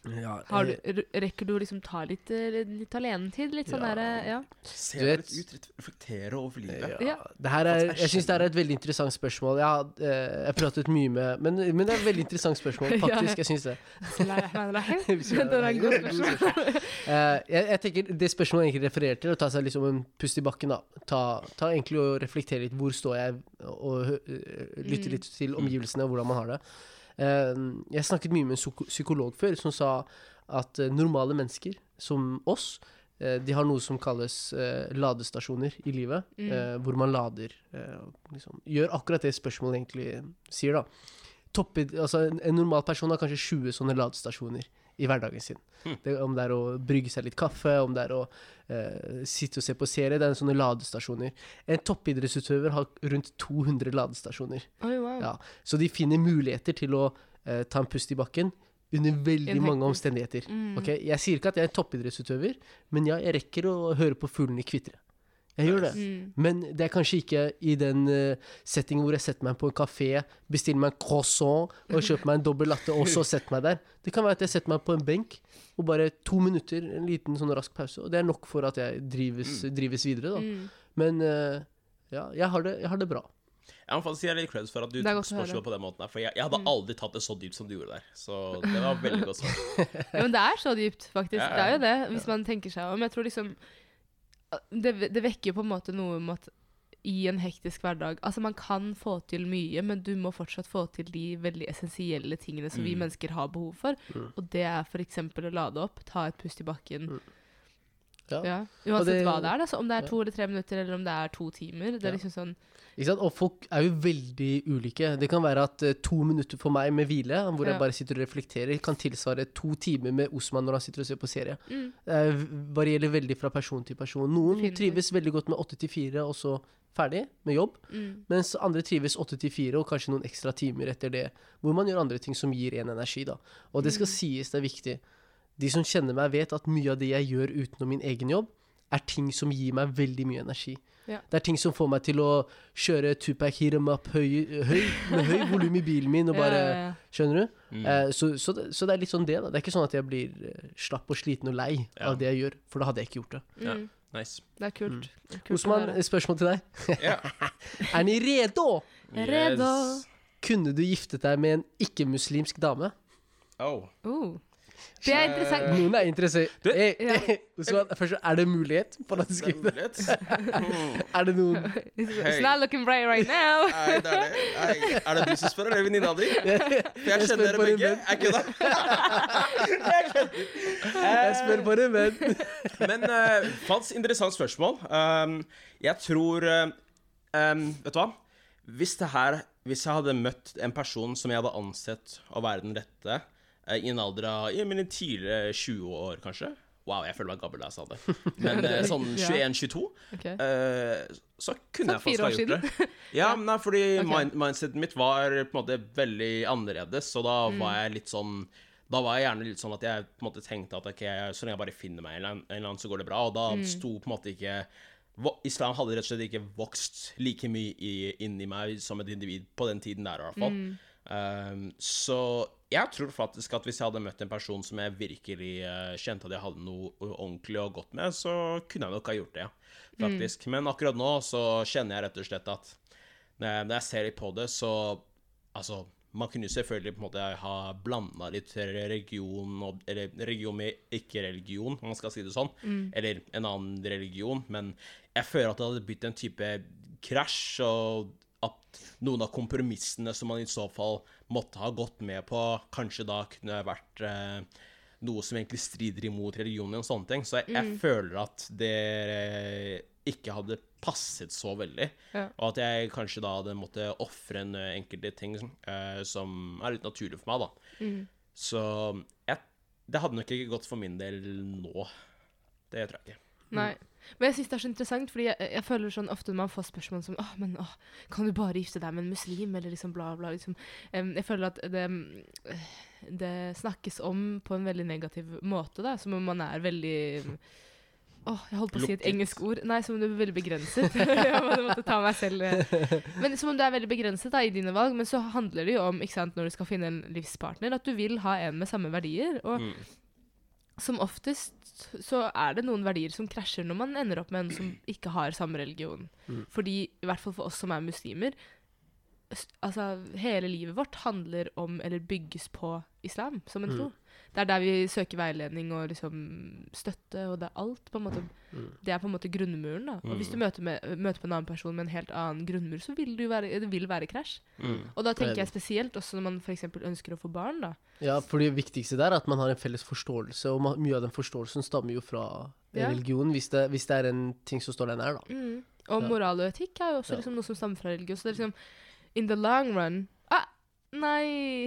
S1: Ja,
S2: Har du,
S1: eh,
S2: r- rekker du å liksom ta litt, eh, litt alenetid? Litt sånn
S1: Ja.
S2: derre Ja.
S3: Se
S1: Du
S3: deg
S1: vet-
S3: litt ut, rett- reflektere over livet.
S1: Ja.
S2: Ja.
S1: Det her er,
S3: At jeg
S1: jeg syns det her er et veldig interessant spørsmål. Jeg har, eh, jeg har pratet mye med men, men det er et veldig interessant spørsmål,
S2: Ja.
S1: faktisk. Jeg syns det.
S2: Bismillah. Det er en god spørsmål.
S1: Eh, jeg, jeg tenker Det spørsmålet egentlig refererer til, å ta seg liksom en pust i bakken, da. Ta, ta egentlig og reflektere litt. Hvor står jeg? Og hø- eh,
S2: Mm.
S1: lytte litt til omgivelsene og hvordan man har det. Eh, jeg snakket mye med en psyko- psykolog før som sa at eh, normale mennesker som oss, eh, de har noe som kalles eh, ladestasjoner i livet,
S2: Mm.
S1: eh, hvor man lader eh, liksom, Gjør akkurat det spørsmålet egentlig sier, da. Toppe, altså, en, en normal person har kanskje 20 sånne ladestasjoner i hverdagen sin.
S2: Hm.
S1: Det, om det er å brygge seg litt kaffe, om det er å eh, sitte og se på serie. Det er sånne ladestasjoner. En toppidrettsutøver har rundt 200 ladestasjoner.
S2: Oi, wow.
S1: Ja, så de finner muligheter til å eh, ta en pust i bakken under veldig
S2: En
S1: mange
S2: hektisk-
S1: omstendigheter.
S2: Mm.
S1: Ok, Jeg sier ikke at jeg er en toppidrettsutøver, men ja, jeg rekker å høre på fuglene kvitre. Jeg gjør det.
S2: Mm.
S1: Men det er kanskje ikke i den eh, settingen hvor jeg setter meg på en kafé, bestiller meg en croissant og kjøper meg en dobbel latte, og så setter meg der. Det kan være at jeg setter meg på en benk og bare to minutter, en liten sånn rask pause, og det er nok for at jeg drives, drives videre, da.
S2: Mm.
S1: Men eh, ja, jeg har, det, jeg har det bra.
S3: Jeg må faktisk gi deg litt creds for at du
S2: Det er
S3: tok
S2: godt å høre. Mm.
S3: spørsmålet på den måten her, for jeg, jeg hadde aldri tatt det så dypt som du gjorde der. Så det var veldig godt svar.
S2: Ja, men det er så dypt, faktisk.
S3: Ja, ja,
S2: Det er jo det, hvis man tenker seg om. Jeg tror liksom Det, det vekker jo på en måte noe om at i en hektisk hverdag Altså, man kan få til mye, men du må fortsatt få til de veldig essensielle tingene som vi mennesker har behov for. Og det er f.eks. å lade opp, ta et pust i bakken.
S1: Ja.
S2: Ja. Uansett
S1: det-
S2: hva det er, da. Så om det er to eller tre minutter, eller om det er to timer. Det
S1: Ja.
S2: er liksom sånn
S1: Ikke sant? Og folk er jo veldig ulike. Det kan være at eh, to minutter for meg med hvile, hvor
S2: Ja.
S1: jeg bare sitter og reflekterer, kan tilsvare to timer med Osman når han sitter og ser på serie.
S2: Mm.
S1: Det er- Eh, varierer veldig fra person til person. Noen
S2: Definitivt.
S1: trives veldig godt med åtte til fire, og så ferdig med jobb.
S2: mm.
S1: Mens andre trives åtte til fire, og kanskje noen ekstra timer etter det. Hvor man gjør andre ting som gir en energi, da. Og
S2: Mm.
S1: det skal sies, det er viktig. De som kjenner meg, vet at mye av det jeg gjør utenom min egen jobb, er ting som gir meg veldig mye energi.
S2: Ja.
S1: Det er ting som får meg til å kjøre Tupac hit 'em up høy, høy, med høy volum i bilen min, og bare
S2: Ja, ja, ja.
S1: Skjønner du?
S3: Mm.
S1: Eh, så, så, det, så det er litt sånn det, da. Det er ikke sånn at jeg blir eh, slapp og sliten og lei
S3: Ja.
S1: av det jeg gjør, for da hadde jeg ikke gjort det.
S3: Ja.
S2: Mm.
S3: Nice.
S2: Det er kult. kult å
S1: Osman, eh,
S2: høre.
S1: spørsmål til deg.
S3: Ja.
S1: Er ni redo?
S2: Redo.
S1: Kunne du giftet deg med en ikke-muslimsk dame?
S3: Oh.
S2: Oh. Det er interessant.
S1: Noen er interessert
S3: Du-
S1: hey,
S2: Ja.
S1: Osman, først, Er det mulighet for at
S3: Det er
S1: du skal gifte deg?
S3: mulighet. Mm.
S1: Er det noen
S2: It's not looking bright right now.
S3: Nei, det er det. Nei, er det du som spør, eller er det venninna di?
S2: Eh.
S3: For jeg
S1: Jeg
S3: kjenner
S1: spør
S3: dere
S1: bare
S3: begge.
S1: venn.
S3: Jeg kødda.
S1: Jeg spør bare, men
S3: Men uh, Fats, interessant spørsmål. Um, jeg tror eh, um, Vet du hva? Hvis det her Hvis jeg hadde møtt en person som jeg hadde ansett å være den rette eh, i en alder av i mine tidligere 20 år, kanskje Wow, jeg føler meg gammel da jeg sa det. Men eh, sånn
S2: Ja.
S3: 21-22,
S2: Ok.
S3: eh, så kunne jeg
S2: Sånn
S3: faktisk
S2: fire
S3: ha
S2: år
S3: gjort
S2: siden.
S3: det. Ja, men nei, fordi
S2: Ok.
S3: mind mindsetet mitt var på en måte veldig annerledes, så da var jeg litt sånn Da var jeg gjerne litt sånn at jeg på en måte tenkte at ok, jeg, så lenge jeg bare finner meg en eller annen- en eller annen, så går det bra, og da sto på en måte ikke vo- Islam hadde rett og slett ikke vokst like mye i, inni meg som et individ på den tiden der, i hvert fall. Um, så jeg tror faktisk at hvis jeg hadde møtt en person som jeg virkelig eh, kjente at jeg hadde noe ordentlig og godt med, så kunne jeg nok ha gjort det, ja. faktisk. Men akkurat nå så kjenner jeg rett og slett at når jeg, når jeg ser litt på det, så Altså, man kunne jo selvfølgelig på en måte ha blanda litt religion og Eller religion med ikke-religion, om man skal si det sånn. Eller en annen religion. Men jeg føler at det hadde blitt en type krasj, og at noen av kompromissene som man i så fall måtte ha gått med på, kanskje da kunne vært eh, noe som egentlig strider imot religionen og sånne ting. Så jeg,
S2: Mm.
S3: jeg føler at det eh, ikke hadde passet så veldig.
S2: Ja.
S3: Og at jeg kanskje da hadde måttet ofre en eh, enkelte ting eh, som er litt naturlig for meg, da.
S2: Mm.
S3: Så jeg, det hadde nok ikke gått for min del nå. Det tror jeg ikke.
S2: Nei. Men jeg synes det er så interessant, fordi jeg, jeg føler sånn ofte når man får spørsmål som åh, men åh, kan du bare gifte deg med en muslim, eller liksom bla, bla, liksom. Em, jeg føler at det, mm, det snakkes om på en veldig negativ måte, da, som om man er veldig mm, Åh, jeg holdt på å si et
S3: Lukket.
S2: engelsk ord. Nei, som om du er veldig begrenset. jeg må- måtte ta meg selv eh. Men som om du er veldig begrenset da, i dine valg, men så handler det jo om, ikke sant, når du skal finne en livspartner, at du vil ha en med samme verdier. og
S3: Mm.
S2: som oftest så er det noen verdier som krasjer når man ender opp med en som ikke har samme religion. Fordi, i hvert fall for oss som er muslimer, s- altså hele livet vårt handler om, eller bygges på, islam som en tro. Det er der vi søker veiledning og liksom støtte, og det er alt, på en måte. Det er på en måte grunnmuren, da. Og hvis du møter, med, møter på en annen person med en helt annen grunnmur, så vil det jo være, det vil være krasj. Og da tenker jeg spesielt også når man f.eks. ønsker å få barn, da.
S1: Ja, for det viktigste der er at man har en felles forståelse, og ma- mye av den forståelsen stammer jo fra
S2: Ja.
S1: religionen, hvis det, hvis det er en ting som står der nær, da.
S2: Mm. Og
S1: Ja.
S2: moral og etikk er jo også
S1: Ja.
S2: liksom noe som stammer fra religion. Så det er liksom In the long run ah, Nei!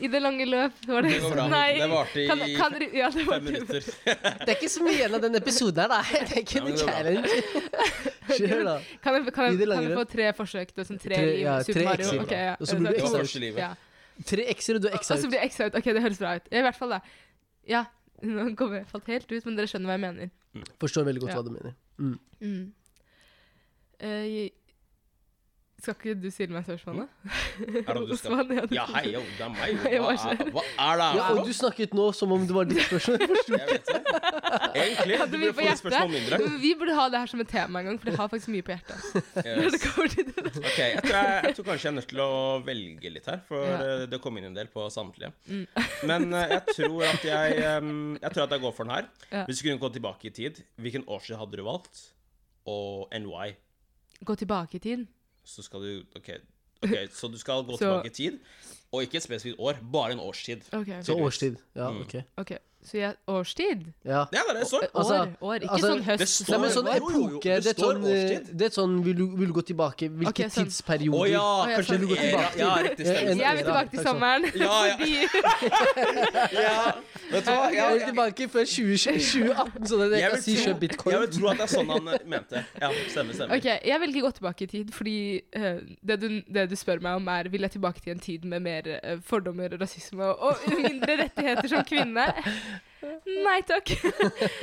S2: I det lange løp, var det
S3: Mm. Det går bra.
S2: Nei!
S3: Det varte i
S2: kan, kan, dere- ja, det
S3: fem
S2: varte
S3: minutter.
S1: Det er ikke så mye igjen av den episoden her, da. Det er
S3: Nei,
S1: ikke
S3: men
S1: en
S3: det er bra.
S1: challenge. Kjør, da.
S2: Kan jeg, kan
S1: I det
S2: jeg,
S1: lange
S2: kan jeg få
S1: løp.
S2: tre forsøk? Det er sånn tre,
S1: Tre-
S2: liv
S1: ja,
S2: i Super
S1: tre
S2: Mario.
S1: ekser,
S2: Ok,
S1: da.
S2: ja.
S1: Og så blir du
S3: Det var
S1: ekstra
S3: første livet.
S2: Ja.
S1: Tre x-er, og du er
S2: Og
S1: x-a
S2: så
S1: ut.
S2: blir jeg eksa ut. Ok, det høres bra ut. Ja, I hvert fall, da. Ja. Nå kom jeg, falt helt ut, men dere skjønner hva jeg mener.
S1: Forstår veldig godt
S2: Ja.
S1: hva du mener.
S2: Mm. Eh, Skal ikke du stille meg spørsmålet?
S3: Hm? Er det du skal...
S2: Osman, ja, du-
S3: Ja, hei, jo, det er meg.
S2: Jeg
S3: jo.
S2: var
S3: Hva er,
S2: ikke-
S3: hva er det her
S1: Ja,
S3: for
S1: og
S3: noe?
S1: du snakket nå som om det var ditt spørsmål.
S3: Jeg vet ikke. Egentlig. Du
S2: Hadde mye
S3: burde
S2: på
S3: få et spørsmål mindre.
S2: hjertet. Vi burde ha det her som et tema en gang, for det har faktisk mye på hjertet. Når
S3: Yes.
S2: det kommer til det der.
S3: Ok, jeg tror, jeg, jeg tror kanskje jeg er nødt til å velge litt her, for
S2: Ja.
S3: eh, det kom inn en del på samtlige. Men eh, jeg tror at jeg, em, jeg tror at jeg går for den her.
S2: Ja.
S3: Hvis du kunne gå tilbake i tid, hvilken årstid hadde du valgt? Og NY.
S2: Gå tilbake i tid.
S3: Så skal du OK, ok, så du skal gå
S2: Så-
S3: tilbake i tid, og ikke et spesifikt år, bare en årstid.
S2: Ok,
S1: Så årstid. Ja, ok.
S2: ok. Så jeg, årstid?
S1: Ja.
S3: Ja, det er det det står.
S2: År,
S1: Altså,
S2: år. Ikke
S1: altså,
S2: sånn høst.
S3: det står-
S1: Nei, men sånn
S3: Jo, jo, jo,
S1: epoke Det er
S3: det
S1: et sånn,
S3: står årstid.
S1: det er et sånn vil, du, vil du gå tilbake? Hvilke
S2: Ok, sånn.
S1: tidsperioder?
S3: Å ja,
S2: ja,
S3: kanskje
S1: sånn.
S3: en era. Ja, riktig stemmer.
S1: En-
S2: jeg vil tilbake til sommeren.
S3: Ja, ja.
S2: Fordi,
S3: Ja, vet du hva?
S1: Jeg
S3: Jeg,
S1: vil tilbake før 2020 2018, sånn at jeg
S3: jeg,
S1: kan
S3: vil tro,
S1: si kjøp
S3: jeg vil
S1: bitcoin.
S3: tro at det er sånn han eh, mente. Ja, stemmer, stemmer.
S2: ok, Jeg velger gå tilbake i tid, fordi eh, det, du, det du spør meg om, er vil jeg tilbake til en tid med mer eh, fordommer og rasisme og, og mindre rettigheter som kvinne. Nei takk.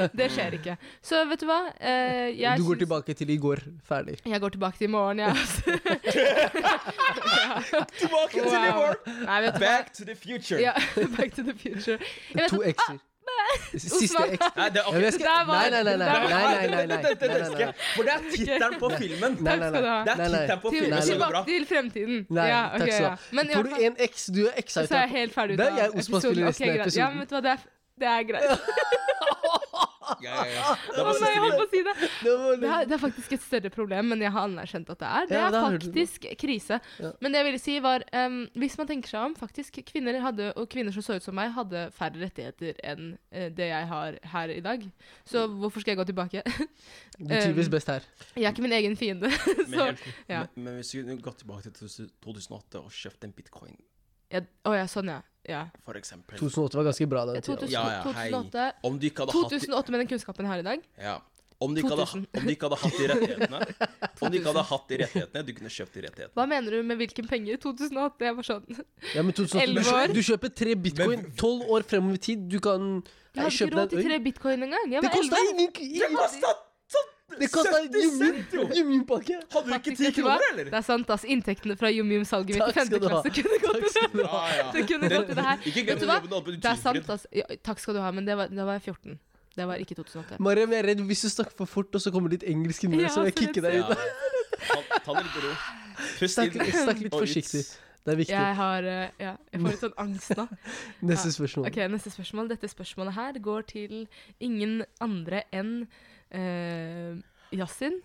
S2: Det skjer ikke. Så vet du hva? Eh, jeg
S1: Du går
S2: syns-
S1: tilbake til i går. Ferdig.
S2: Jeg går tilbake til i morgen, jeg. altså.
S3: Tilbake til i
S2: Wow.
S3: morgen!
S2: Nei, vet du hva?
S3: Back to the future.
S2: Ja, back to the future. Jeg vet
S1: To
S2: at
S1: x-er. Siste
S2: Osman.
S1: x.
S3: Nei, det, ok.
S1: Jeg vet-
S2: Der var
S1: Nei, nei,
S2: den.
S1: nei. nei,
S2: Der var
S1: nei, nei, nei, nei,
S3: Det- det- det- det
S1: nei,
S3: elsker
S1: nei,
S3: jeg. For det er tittelen på filmen.
S1: nei,
S2: Takk
S1: nei,
S2: skal du ha.
S3: Det er
S1: Nei, nei.
S3: tittelen på
S2: til,
S3: filmen som går bra.
S2: tilbake til fremtiden.
S1: Nei,
S2: ja, ok,
S1: takk skal du
S2: ja.
S1: ha.
S2: Men i
S1: Får
S2: hvert
S1: du
S2: fall
S1: en x, du er x-a ut
S2: så er jeg helt ferdig ut
S1: Det
S2: av
S1: er jeg Osman spiller resten av
S2: Ok, greit. Ja,
S1: episoden.
S2: men vet du hva, det er, det er greit.
S3: Ja, ja, ja. Det var
S2: Å nei,
S3: siste
S2: jeg holdt på
S3: linje.
S2: å si det. Det
S1: av.
S2: er, det er faktisk et større problem, men jeg har anerkjent at det er. Det
S1: Ja, det har
S2: er
S1: jeg hørt om.
S2: faktisk krise.
S1: Ja.
S2: Men det jeg ville si var, em, hvis man tenker seg om, faktisk, kvinner hadde, og kvinner som så ut som meg, hadde færre rettigheter enn eh, det jeg har her i dag. Så hvorfor skal jeg gå tilbake?
S1: Du trives
S2: um,
S1: best her.
S2: Jeg er ikke min egen fiende.
S3: Men,
S2: Så,
S3: helt-
S2: ja.
S3: men- men hvis vi kunne gått tilbake til 2000- 2008 og kjøpt en bitcoin,
S2: jeg, å ja, sånn ja. ja.
S3: for eksempel
S1: 2008 var ganske bra den tida.
S2: 2000,
S3: Ja, ja, hei.
S2: 2008,
S3: Om du ikke hadde hatt
S2: 2008 med den kunnskapen jeg har i dag.
S3: ja. om du ikke hadde,
S2: 2000.
S3: om du ikke hadde hatt de rettighetene Om du ikke hadde hatt de rettighetene, du kunne kjøpt de rettighetene.
S2: Hva mener du med hvilken penger? 2008? Jeg var sånn
S1: Ja, men 2008,
S2: Elleve år.
S1: du, du kjøper tre bitcoin,
S3: Men-
S1: tolv år fremover i tid. Du kan
S2: Jeg hadde ikke
S1: kjøpe
S2: råd
S1: deg
S2: til
S1: en øl.
S2: tre bitcoin engang. Jeg
S1: Det
S2: var
S1: kosta
S2: 11.
S1: ingen
S3: Det
S1: ingen-
S3: kosta
S1: Det kosta
S3: sånn 70 cent, jo!
S1: en jumjumpakke!
S3: Hadde du ikke
S2: Faktisk,
S3: 10
S2: vet du hva?
S3: kroner, eller?
S2: Det er sant, ass. Inntektene fra Yum-Yum-salget mitt i
S1: Takk skal
S2: femte
S1: du ha.
S2: klasse kunne gått til det.
S3: Ja, ja.
S2: Det kunne gått til det her.
S3: Ikke
S2: Vet
S3: glem
S2: du
S3: å
S2: hva?
S3: jobbe oppe i
S2: Det er sant, altså.
S3: Tusenfryd.
S2: ass. Ja, takk skal du ha, men det var, da var jeg 14. Det var ikke 2008.
S1: Mariam, jeg er redd hvis du snakker for fort, og så kommer litt engelsk inn i det,
S2: Ja,
S1: så jeg
S2: så
S1: kicker
S3: Ja.
S1: deg ut.
S3: Ta, ta det litt med ro. Pust
S1: Snakk,
S3: inn.
S1: snakk litt
S3: Og ut.
S1: forsiktig. Det er viktig.
S2: Jeg har eh, Ja, jeg får litt sånn angst nå.
S1: Neste spørsmål.
S2: Ok, Neste spørsmål. Dette spørsmålet her går til ingen andre enn eh, Yasin.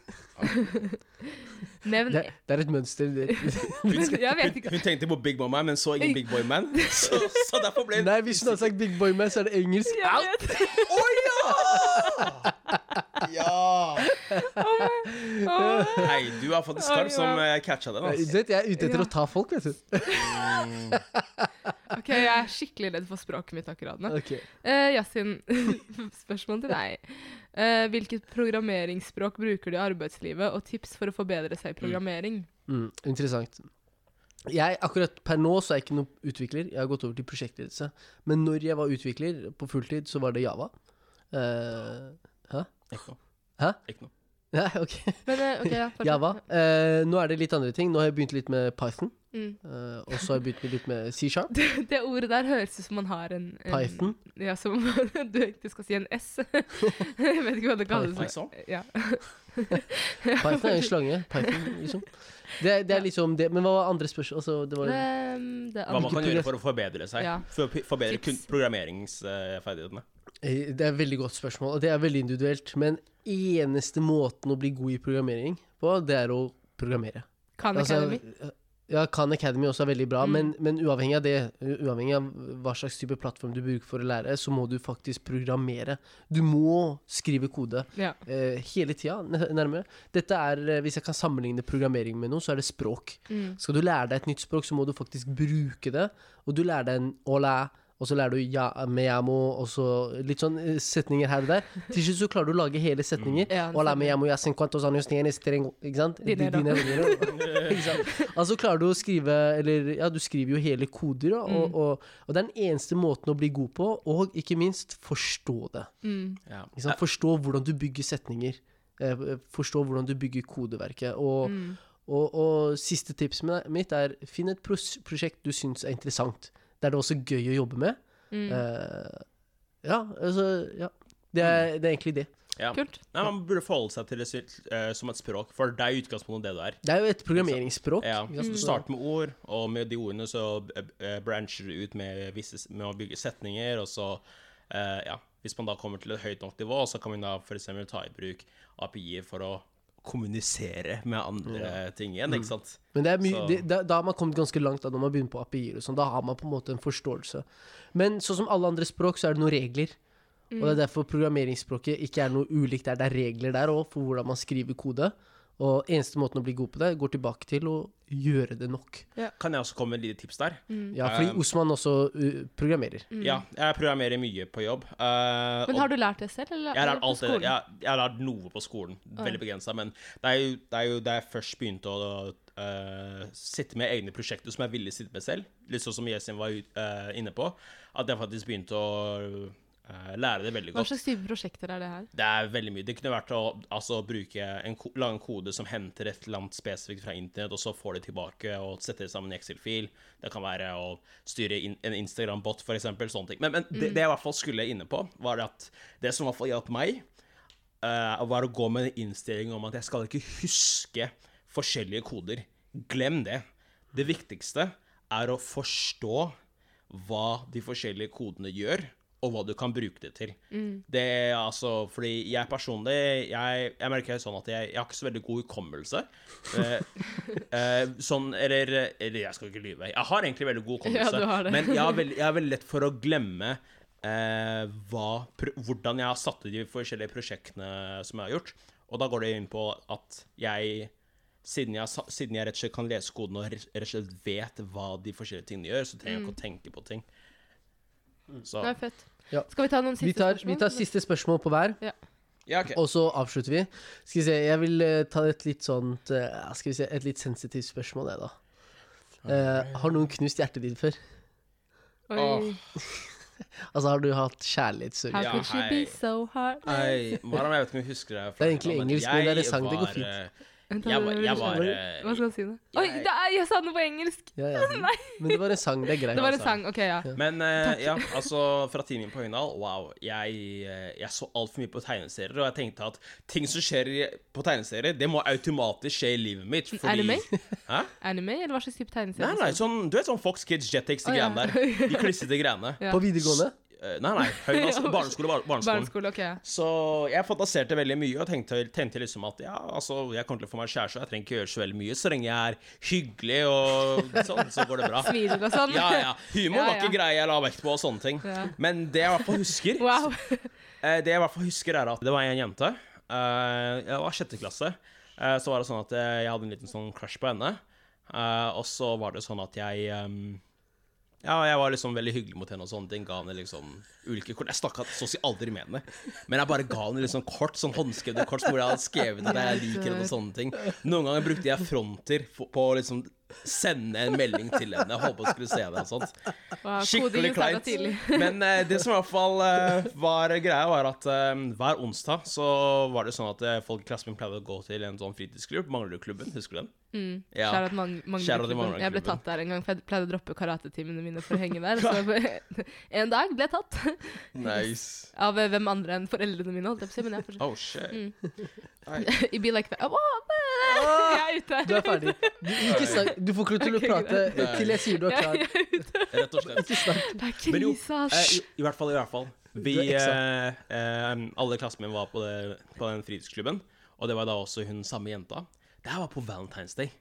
S2: Nevn
S1: Det, det er et mønster. Det.
S2: Jeg vet ikke.
S3: Hun tenkte på Big Boy Man, men så ingen Big Boy Man. Så, så derfor ble
S1: Nei, hvis hun hadde sagt Big Boy Man, så er det engelsk.
S2: Jeg vet.
S3: Å ja! Ja!
S2: Åh.
S3: Nei, du er faktisk skarp som eh, catcha den.
S1: Du
S3: Altså.
S1: vet, jeg er ute etter
S2: Ja.
S1: å ta folk, vet du.
S2: Ok, jeg er skikkelig redd for språket mitt akkurat nå.
S1: Ok.
S2: Eh, Yasin, spørsmål til deg. Eh, hvilket programmeringsspråk bruker du i arbeidslivet, og tips for å forbedre seg i programmering?
S1: Mm, interessant. Jeg, akkurat per nå så er jeg ikke noen utvikler. Jeg har gått over til prosjektledelse. Men når jeg var utvikler på fulltid, så var det Java. Eh,
S3: Ikke noe.
S1: Hæ?
S3: Ikke noe.
S1: nei, ok.
S2: Men eh, ok, ja, fortsett.
S1: Java. Eh, nå er det litt andre ting. Nå har jeg begynt litt med Python.
S2: Mm.
S1: eh, og så har jeg begynt med litt med C-sharp.
S2: Det, det ordet der høres ut som man har en, en
S1: Python.
S2: Ja, som du egentlig skal si en S. jeg vet ikke hva det
S3: Ikke
S2: kalles.
S3: sånn?
S2: Ja.
S1: Python er en slange. Python, liksom. Det, er- det er liksom det. Men hva var andre spørsmål? Altså, det var
S2: Um, det
S3: Hva man
S2: andre.
S3: kan gjøre for å forbedre seg.
S2: Ja.
S3: For å forbedre kun
S2: Tips.
S3: programmeringsferdighetene.
S1: Eh, Det er et veldig godt spørsmål, og det er veldig individuelt. Men eneste måten å bli god i programmering på, det er å programmere.
S2: Khan
S1: Altså,
S2: Academy.
S1: eh, ja, Khan Academy også er veldig bra,
S2: Mm.
S1: men, men uavhengig av det, u- uavhengig av hva slags type plattform du bruker for å lære, så må du faktisk programmere. Du må skrive kode
S2: Ja.
S1: eh, hele tida, n- nærmere. Dette er, eh, hvis jeg kan sammenligne programmering med noe, så er det språk.
S2: Mm.
S1: Skal du lære deg et nytt språk, så må du faktisk bruke det. Og du lærer deg en ola, og så lærer du ja, meamo, og så litt sånn eh, setninger her og der. Til slutt så klarer du å lage hele setninger.
S2: Ja,
S1: Ola
S2: stemmer.
S1: meamo ja cinquantos años tienes tengo Ikke sant?
S2: Dinero.
S1: Di- dinero. Ikke sant? Altså klarer du å skrive Eller ja, du skriver jo hele koder, da, og, og, og det er den eneste måten å bli god på, og ikke minst forstå det.
S2: Mm.
S3: Ja.
S1: Ikke
S2: Mm.
S1: sant? Forstå hvordan du bygger setninger. eh, Forstå hvordan du bygger kodeverket. Og, Og, og siste tipset mi- mitt er finn et pros prosjekt du syns er interessant. Der det er også gøy å jobbe med. Eh, ja, altså Ja. Det er, det er egentlig det.
S3: Ja.
S2: Kult.
S3: Nei, man burde forholde seg til det sitt, eh, som et språk, for det er i utgangspunktet det du er.
S1: Det er jo et programmeringsspråk.
S3: Ja. Mm.
S1: ikke
S2: Mm.
S1: sant?
S3: Du starter med ord, og med de ordene så eh, eh, brancher du ut med, visse, s- med å bygge setninger, og så eh, Ja. Hvis man da kommer til et høyt nok nivå, så kan man da f.eks. ta i bruk API-er for å kommunisere med andre ting igjen, ikke sant?
S1: Men det er mye,
S3: Så-
S1: det, da, da har man kommet ganske langt da, når man begynner på API-er og sånn. Da har man på en måte en forståelse. Men sånn som alle andre språk, så er det noen regler. Og det er
S2: Mm.
S1: derfor programmeringsspråket ikke er noe ulikt der. Det er regler der òg, for hvordan man skriver kode. Og eneste måten å bli god på det, går tilbake til å gjøre det nok.
S3: Kan jeg også komme med et lite tips der?
S2: Mm.
S1: Ja, fordi
S3: Um,
S1: Osman også uh, programmerer.
S3: Ja, jeg programmerer mye på jobb. eh,
S2: Men
S3: og
S2: har du lært det selv, eller
S3: Jeg har
S2: er
S3: lært
S2: det på
S3: alt det
S2: skolen?
S3: jeg, jeg har lært noe på skolen. Veldig begrensa. Men det er, jo, det er jo da jeg først begynte å øh, sitte med egne prosjekter som jeg ville sitte med selv, litt sånn som Yesin var ut- øh, inne på, at jeg faktisk begynte å øh, lære det veldig
S2: Hva
S3: godt.
S2: slags type prosjekter er det her?
S3: Det er veldig mye. Det kunne vært å altså, bruke en, ko- lage en kode som henter et eller annet spesifikt fra internett, og så får det tilbake og setter det sammen i Excel-fil. Det kan være å styre in, en Instagram-bot, for eksempel. Sånne ting. Men, men det, det jeg i hvert fall skulle inne på, var at det som i hvert fall hjalp meg, eh, var å gå med en innstilling om at jeg skal ikke huske forskjellige koder. Glem det. Det viktigste er å forstå hva de forskjellige kodene gjør, og hva du kan bruke det til.
S2: Mm.
S3: Det er altså, fordi jeg personlig, jeg, jeg merker sånn at jeg, jeg har ikke så veldig god hukommelse. Eh, eh, sånn, eller, eller jeg skal ikke lyve. Jeg har egentlig veldig god
S2: Ja,
S3: hukommelse,
S2: du har det.
S3: men jeg har, veldig, jeg har veldig lett for å glemme eh, hva, pr hvordan jeg har satt ut de forskjellige prosjektene som jeg har gjort. Og da går det inn på at jeg siden jeg, sa- siden jeg rett og slett kan lese koden og rett og slett vet hva de forskjellige tingene gjør, så trenger jeg ikke å tenke på ting. Så
S2: Mm. Nei, fett.
S1: Ja.
S2: Skal vi ta noen siste
S1: Vi tar,
S2: spørsmål?
S1: vi tar siste spørsmål på hver,
S3: Ja, ok.
S1: og så avslutter vi. Skal vi se, Jeg vil eh, ta et litt sånt eh, Skal vi se, et litt sensitivt spørsmål, jeg, da. Eh, har noen knust hjertet ditt før?
S2: Oi,
S3: Åh.
S1: Altså, har du hatt kjærlighetssorg?
S2: How
S3: Ja,
S2: could she be
S3: hei.
S2: so hard?
S3: Nei, Maram, jeg vet ikke om jeg husker det. her fra-
S1: Det er egentlig
S3: men
S1: engelsk, men det er
S3: jeg
S1: en sang, det går
S3: var,
S1: fint.
S3: eh,
S2: Vent, da,
S3: Jeg var,
S2: det
S3: jeg
S2: blir
S3: var
S2: sånn.
S3: eh,
S2: Hva skal han si nå? Oi, det er, jeg sa noe på engelsk!
S1: Ja, ja. Men det var en sang, det er altså. greit.
S2: Det var en sang. OK, ja.
S3: Men eh, ja, altså, fra timen på Høgndal, wow. Jeg, eh, jeg så altfor mye på tegneserier, og jeg tenkte at ting som skjer i- på tegneserier, det må automatisk skje i livet mitt, fordi
S2: Anime?
S3: Hæ?
S2: Anime, eller hva slags type
S3: Nei,
S2: tegneserie?
S3: nei, sånn, du vet sånn Fox Kids, Jetix, de
S2: Å, ja.
S3: greiene der. De klissete greiene.
S2: Ja.
S1: På videregående?
S3: Eh, Nei, nei, Høgndal, barneskole, bar- barneskolen.
S2: Barneskole, OK.
S3: Så jeg fantaserte veldig mye og tenkte, tenkte liksom at ja, altså, jeg kommer til å få meg kjæreste, og jeg trenger ikke gjøre så veldig mye, så lenge jeg er hyggelig og sånn, så går det bra.
S2: Smiler og sånn.
S3: Ja, ja. Humor
S2: Ja,
S3: var
S2: ja.
S3: ikke greia jeg la vekt på, og sånne ting.
S2: Ja.
S3: Men det jeg i hvert fall husker,
S2: Wow.
S3: eh, det jeg i hvert fall husker er at det var en jente. Eh, jeg var sjette klasse. Eh, så var det sånn at eh, jeg hadde en liten sånn crush på henne. Eh, og så var det sånn at jeg ehm, ja, jeg var liksom veldig hyggelig mot henne og sånne ting. Ga henne liksom ulike kort. Jeg snakka så å si aldri med henne. Men jeg bare ga henne liksom kort, sånn håndskrevne kort hvor jeg hadde skrevet at jeg liker henne og sånne ting. Noen ganger brukte jeg fronter for- på å liksom sende en melding til henne. Jeg håpet hun skulle se det og sånt.
S2: wow.
S3: Skikkelig kleint.
S2: Tidlig.
S3: Men eh, det som i hvert fall eh, var greia, var at eh, hver onsdag så var det sånn at eh, folk i klassen min pleide å gå til en sånn fritidsklubb, Manglerudklubben, husker du den?
S2: Mm.
S3: Ja.
S2: Kjære at mang- mangler
S3: Kjære at det
S2: klubben.
S3: mangler
S2: Jeg ble
S3: klubben.
S2: tatt der en gang, for jeg pleide å droppe karatetimene mine for å henge der. Så en dag ble jeg tatt
S3: Nice.
S2: av eh, hvem andre enn foreldrene mine, holdt jeg på å si. Men jeg fortsatt.
S3: Oh shit.
S2: Mm. I be like that. Åh, jeg er ute!
S1: Du er ferdig. Du, ikke snakk, du får ikke lov til å
S2: Ok,
S1: prate
S3: greit.
S1: til jeg sier du er
S2: Jeg
S1: klar.
S2: er ute.
S3: Rett og slett.
S1: Ikke snakk.
S2: Det er
S3: Men jo,
S2: krise,
S3: Eh,
S2: ass.
S3: i, I hvert fall, i hvert fall. Vi,
S1: Du er
S3: eh, eh, alle i klassen min var på, det, på den fritidsklubben, og det var da også hun samme jenta. Det her var på Valentine's Day.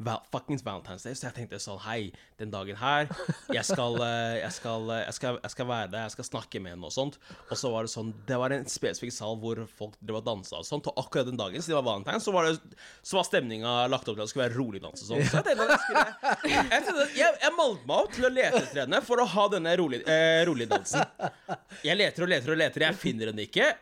S3: Val fuckings Valentine's Day. Så jeg tenkte sånn Hei, den dagen her Jeg skal, eh, jeg skal, eh, jeg skal, jeg skal være der, jeg skal snakke med henne og sånt. Og så var det sånn Det var en spesifikk sal hvor folk drev og dansa og sånt. Og akkurat den dagen, siden det var valentine, så var, det- så var stemninga lagt opp til at det skulle være rolig dans og sånn. Så jeg tenkte at jeg skulle Jeg, tenkte at jeg, jeg malte meg opp til å lete etter henne for å ha denne rolig, eh, rolig dansen. Jeg leter og leter og leter, jeg finner henne ikke.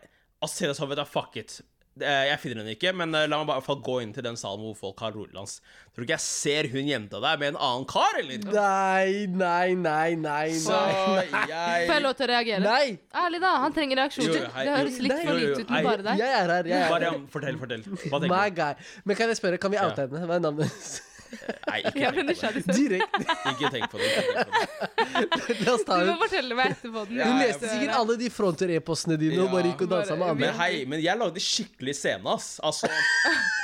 S3: Og så sier jeg sånn, vet du, fuck it. eh, Jeg finner henne ikke, men eh, la meg bare i hvert fall gå inn til den salen hvor folk har rolands. Tror du ikke jeg ser hun jenta der med en annen kar, eller?
S1: Nei, nei, nei, nei,
S3: Så
S1: nei.
S2: Får jeg
S3: jeg
S2: lov til å reagere?
S1: Nei!
S2: Ærlig, da. Han trenger reaksjoner.
S3: Jo, jo, hei,
S2: det høres
S3: jo,
S2: litt
S1: nei,
S2: for
S3: jo, jo,
S2: lite ut
S3: hei.
S2: med bare deg.
S1: Jeg er her. Jeg er her.
S3: Mariam, fortell, fortell. Hva
S1: My
S3: tenker du?
S1: guy. Men kan jeg spørre, kan vi oute henne? Hva er navnet hennes?
S3: Nei, ikke
S2: Jeg
S3: tenk på
S2: ble
S3: det.
S2: nysgjerrig. selv.
S1: Direkte.
S3: Ikke tenk på det. Ikke tenk på det.
S1: La oss ta
S2: Du må
S1: henne.
S2: fortelle meg etterpå.
S1: Hun
S2: den.
S3: Ja, jeg-
S1: leste sikkert alle de fronter-e-postene dine og bare gikk og dansa med
S3: Men
S1: andre.
S3: hei, men jeg lagde skikkelig scene, ass. Altså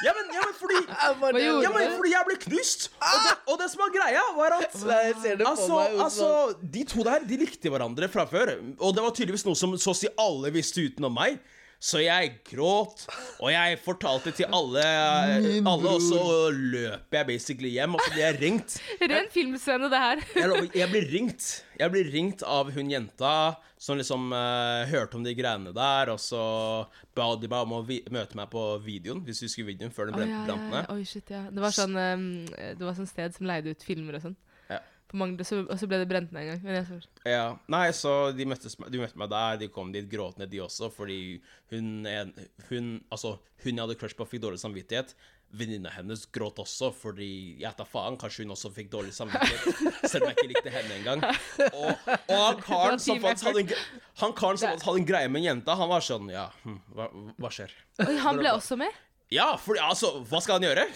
S3: Ja, men, ja, men fordi
S1: Hva
S2: gjorde
S3: ja, men fordi jeg ble knust! Og det, og det som var greia, var at
S1: Nei, jeg Ah! ser det på
S3: altså,
S1: meg, Osman.
S3: altså, De to der de likte hverandre fra før, og det var tydeligvis noe som så å si alle visste utenom meg. Så jeg gråt, og jeg fortalte til alle,
S1: Min
S3: alle og så
S1: bror.
S3: løper jeg basically hjem. Og så blir jeg ringt.
S2: Ren filmscene, det her.
S3: Jeg, lover, jeg blir ringt Jeg blir ringt av hun jenta som liksom eh, hørte om de greiene der, og så ba de meg om å vi møte meg på videoen, hvis du husker videoen, før den
S2: Å,
S3: brente,
S2: ja, ja,
S3: brant
S2: ja.
S3: ned.
S2: Oi, shit, ja. Det var sånn um, Det var sånn sted som leide ut filmer og sånn.
S3: Ja.
S2: På Magde, så, og så ble det brent ned en gang. Men jeg så,
S3: Ja. Nei, så de, møttes, de møtte meg der. De kom dit gråtende, de også, fordi hun, en- hun Altså, hun jeg hadde crush på, fikk dårlig samvittighet. Venninna hennes gråt også, fordi jeg tar faen, kanskje hun også fikk dårlig samvittighet. Selv om jeg ikke likte henne engang. Og, og han karen som
S2: Det var team
S3: faktisk hadde en, gre- han karen som hadde en greie med en jente, han var sånn Ja, hm, hva, hva skjer?
S2: Oi, han ble også med?
S3: Ja, for altså, hva skal han gjøre?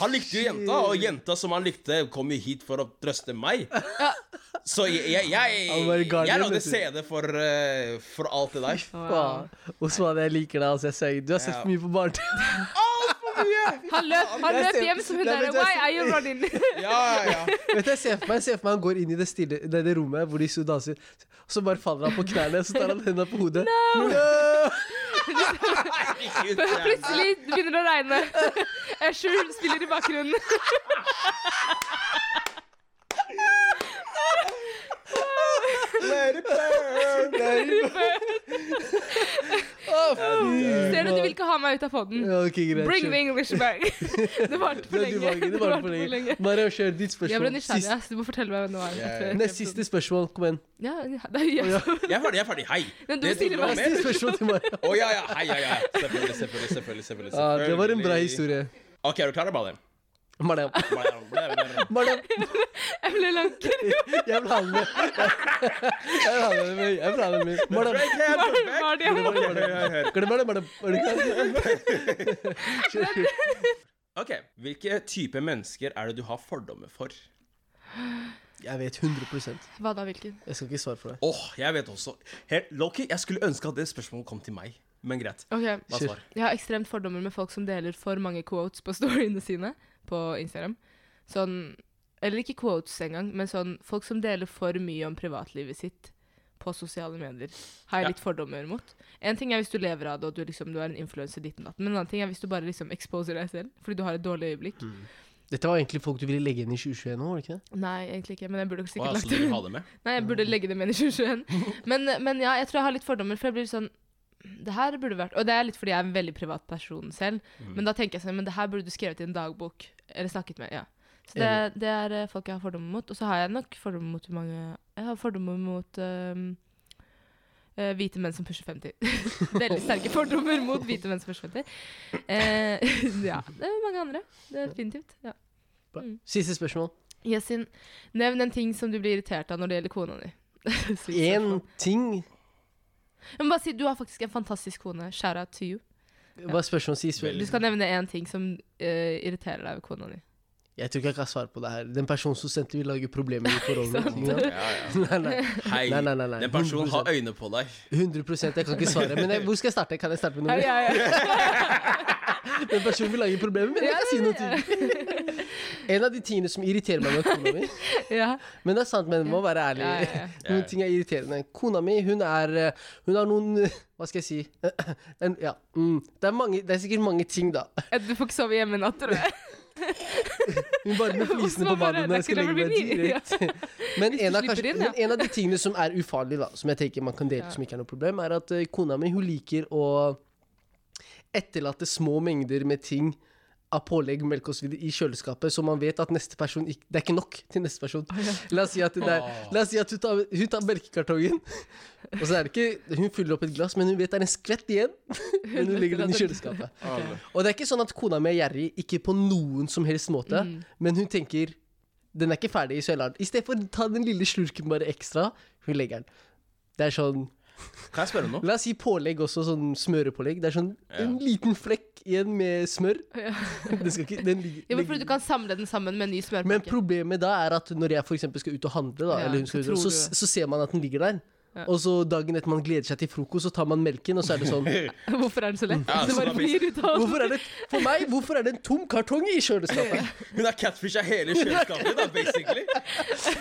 S3: Han likte jo jenta, og jenta som han likte, kom jo hit for å trøste meg. Så jeg, jeg, jeg,
S1: Han var
S3: jeg,
S1: guardian,
S3: lagde
S1: vet du.
S3: CD for, eh, for alt det der.
S2: Wow.
S1: Osman, jeg liker deg. Altså, jeg ser, du har sett
S3: Ja.
S1: for mye på barne-TV.
S2: Han løp, han
S1: Jeg
S2: løp
S1: ser-
S2: hjem som hun
S1: Nei,
S2: der
S1: men jeg
S2: Why
S1: ser-
S2: are you running?
S3: Ja, ja, ja.
S1: Vet du, jeg ser for meg, jeg ser for meg han går inn i det, stille, det, det rommet hvor de så danser, og så bare faller han på knærne, og så tar han hendene på hodet.
S3: Ikke ut, ja.
S2: Plutselig begynner det å regne. Asher spiller i bakgrunnen.
S1: Let it burn, let it burn. Å, fy
S2: Ser du, du
S1: faen.
S2: vil ikke ha meg ut av poden.
S1: Ja, ok, greit,
S2: Bring
S1: kjør.
S2: the English back. Det varte for
S1: Det er du,
S2: lenge.
S1: Margen, Det var for lenge. Bare kjør ditt
S2: Jeg ble
S1: spørsmål.
S2: nysgjerrig, ass. Du må fortelle meg hvem det var.
S3: Ja, ja.
S2: Etter-
S1: Nest siste spørsmål. Kom igjen.
S2: Ja, ja, det er jo
S3: Jeg er ferdig, jeg er ferdig. Hei.
S2: Men du
S3: Det
S2: stiller
S3: tok meg
S2: meg
S3: med.
S1: Siste spørsmål til meg.
S3: Å ja, ja. Hei, ja, ja. Selvfølgelig, selvfølgelig, selvfølgelig. selvfølgelig,
S1: Ja, det var en bra
S3: selvfølgelig.
S1: historie.
S3: OK, er du klar, Badim?
S1: Mariam. Mariam,
S2: Jeg ble langt.
S1: jeg vil ha den med. Jeg vil ha den med. Jeg vil ha den med. Mariam.
S2: Var det han?
S1: Glem det, Mariam. Er du klar? Kjør, kjør.
S3: OK. Hvilke type mennesker er det du har fordommer for?
S1: Jeg vet 100
S2: Hva da, hvilken?
S1: Jeg skal ikke svare for deg.
S3: Åh, jeg vet også. Helt, Loki, jeg skulle ønske at det spørsmålet kom til meg. Men greit.
S2: Ok,
S3: Hva
S1: Sure.
S3: svar?
S2: Jeg har ekstremt fordommer med folk som deler for mange quotes på storyene sine på Instagram. Sånn Eller ikke quotes engang, men sånn folk som deler for mye om privatlivet sitt på sosiale medier, har jeg
S3: Ja.
S2: litt fordommer mot. En ting er hvis du lever av det, og du, liksom, du er en influenser ditt og datt, men en annen ting er hvis du bare liksom exposer deg selv fordi du har et dårlig øyeblikk.
S3: Mm.
S1: Dette var egentlig folk du ville legge inn i 2021 nå, var det ikke det?
S2: Nei, egentlig ikke, men jeg
S3: Åh,
S2: burde sikkert
S3: så
S2: lagt
S3: altså, du
S2: det
S3: vil
S2: ut.
S3: ha det med?
S2: Nei, jeg burde legge det med i 2021. Men, men ja, jeg tror jeg har litt fordommer, for jeg blir sånn Det her burde vært Og det er litt fordi jeg er en veldig privat person selv, men da tenker jeg sånn Men det her burde du skrevet i en dagbok, eller snakket med, ja. Så det, det er eh, folk jeg har fordommer mot. Og så har jeg nok fordommer mot mange Jeg har fordommer mot ehm, eh, hvite menn som pusher 50. Veldig sterke fordommer mot hvite menn som pusher 50. Eh, ja. Det er mange andre. Det er definitivt. Ja.
S1: Bra.
S2: Mm.
S1: Siste spørsmål.
S2: Yasin, nevn en ting som du blir irritert av når det gjelder kona di. Sykt
S1: Én
S2: spørsmål.
S1: ting
S2: Men bare si, Du har faktisk en fantastisk kone. Shout out to you.
S1: Hva er spørsmålet sist?
S3: Veldig.
S2: Du skal nevne én ting som eh, irriterer deg ved kona di.
S1: Jeg tror ikke jeg kan svare på det her. Den personen som sendte vil lage problemer i forholdet.
S2: Sant.
S1: Ja.
S3: Ja, ja.
S1: Nei, nei.
S3: Hei,
S1: Nei, nei, nei, nei.
S3: den personen har øyne på deg.
S1: 100 Jeg kan ikke svare. Men jeg, hvor skal jeg starte? Kan jeg starte med noe? Den personen vil lage problemer, men jeg kan si noe til. En av de tingene som irriterer meg med kona mi
S2: Ja.
S1: Men det er sant, men jeg må være ærlig.
S2: Ja, ja, ja.
S1: Noen ting er irriterende. Kona mi, hun er eh, Hun har noen eh, Hva skal jeg si en, Ja. Mm, det, er mange, det er sikkert mange ting, da.
S2: Eh, Du får ikke sove hjemme i natt, tror jeg.
S1: Hun bare med flisene på
S2: Hvorfor bare?
S1: badet når jeg skal
S2: Det
S1: legge meg
S2: kunne bli mye,
S1: direkte. Men en av,
S2: slipper
S1: kanskje,
S2: inn, ja.
S1: men en av de tingene som er ufarlig, da, som jeg tenker man kan dele
S2: Ja.
S1: som ikke er noe problem, er at eh, kona mi, hun liker å etterlate små mengder med ting av pålegg, melk og så videre i kjøleskapet, så man vet at neste person ikke, det er ikke nok til neste person. La oss si at, det er, la oss si at hun, tar, hun tar melkekartongen, og så er det ikke Hun fyller opp et glass, men hun vet det er en skvett igjen. Men hun legger den i kjøleskapet. Og det er ikke sånn at kona mi er gjerrig, ikke på noen som helst måte,
S2: Mm.
S1: men hun tenker Den er ikke ferdig, så jeg lar den. Istedenfor å ta den lille slurken bare ekstra, hun legger den. Det er sånn
S3: Kan jeg spørre om noe?
S1: La oss si pålegg også, sånn smørepålegg. Det er sånn en liten flekk igjen med smør. Den skal ikke, den ligger,
S2: Jo, men fordi du kan samle den sammen med en ny smørpakke.
S1: Men problemet da er at når jeg for eksempel skal ut og handle, da,
S2: Ja,
S1: eller hun
S2: så
S1: skal ut,
S2: tror
S1: og- så,
S2: du-
S1: så ser man at den ligger der. Og så dagen etter man gleder seg til frokost, så tar man melken, og så er det sånn
S2: Hvorfor er den så lett?
S3: Ja,
S2: det
S3: sånn
S2: bare
S3: er
S2: blir ut av
S1: Hvorfor er det, for meg, hvorfor er det en tom kartong i kjøleskapet?
S3: Hun har catfisha hele kjøleskapet, da, basically.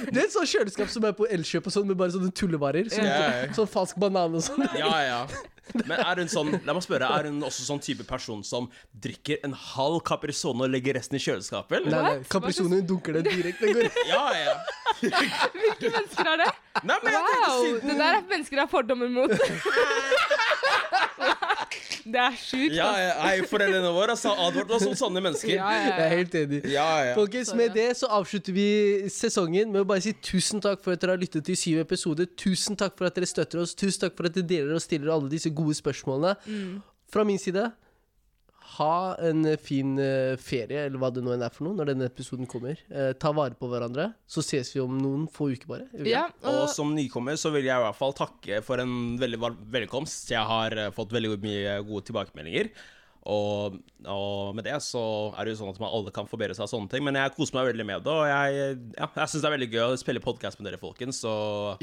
S1: Det er et sånt kjøleskap som er på Elkjøp og sånn, med bare sånne tullevarer. Sånn,
S3: Ja, ja.
S1: sånn falsk banan og sånn.
S3: Ja, ja. Men er hun sånn La meg spørre, er hun også sånn type person som drikker en halv Caprisone og legger resten i kjøleskapet?
S1: Nei,
S3: Eller?
S1: nei, Caprisone hun dunker det direkte. Den går-
S3: Ja, ja.
S2: Hvilke mennesker er det?
S3: Nei, men jeg tenkte
S2: Wow!
S3: siden
S2: Det der er mennesker jeg har fordommer mot. det er sjukt.
S3: Ja,
S2: ass.
S3: ja. Nei, foreldrene våre har advart oss om sånne mennesker.
S2: Ja, ja,
S1: Jeg er
S2: ja.
S1: helt enig.
S3: Ja, ja.
S1: Folkens, med det så avslutter vi sesongen med å bare si tusen takk for at dere har lyttet til syv episoder. Tusen takk for at dere støtter oss. Tusen takk for at dere deler og stiller alle disse gode spørsmålene.
S2: Mm.
S1: Fra min side, ha en fin eh, ferie, eller hva det nå enn er for noe, når denne episoden kommer. Eh, ta vare på hverandre. Så ses vi om noen få uker, bare. Er vi
S2: Ja,
S1: enige?
S3: Og
S2: og
S3: som nykommer så vil jeg i hvert fall takke for en veldig varm velkomst. Jeg har eh, fått veldig mye gode tilbakemeldinger. Og, og med det så er det jo sånn at man alle kan forbedre seg av sånne ting. Men jeg koser meg veldig med det, og jeg, ja, jeg syns det er veldig gøy å spille podkast med dere, folkens. Så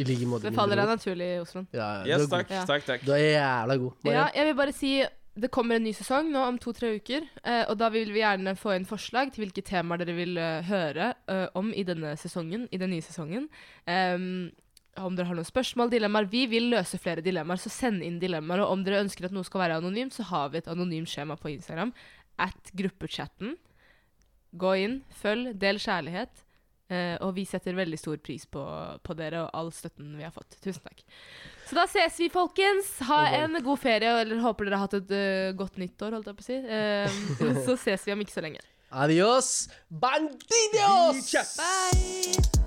S1: I like måte.
S2: det
S1: min
S2: faller
S1: bror.
S2: deg naturlig, Osman.
S1: Ja, ja, du
S3: yes,
S1: er god.
S3: takk,
S2: Ja.
S3: takk, takk.
S1: Du er jævla god. Maria.
S2: Ja, jeg vil bare si det kommer en ny sesong nå om to-tre uker, eh, og da vil vi gjerne få inn forslag til hvilke temaer dere vil eh, høre eh, om i denne sesongen, i den nye sesongen. Em, om dere har noen spørsmål, dilemmaer. Vi vil løse flere dilemmaer, så send inn dilemmaer. Og om dere ønsker at noe skal være anonymt, så har vi et anonymt skjema på Instagram. At gruppechatten. Gå inn, følg, del kjærlighet. eh, og vi setter veldig stor pris på, på dere og all støtten vi har fått. Tusen takk. Så da ses vi, folkens. Ha en god ferie, eller håper dere har hatt et eh, godt nyttår, holdt jeg på å si. Eh, så ses vi om ikke så lenge.
S1: Adios, bandidos!
S3: Yes.
S2: Bye!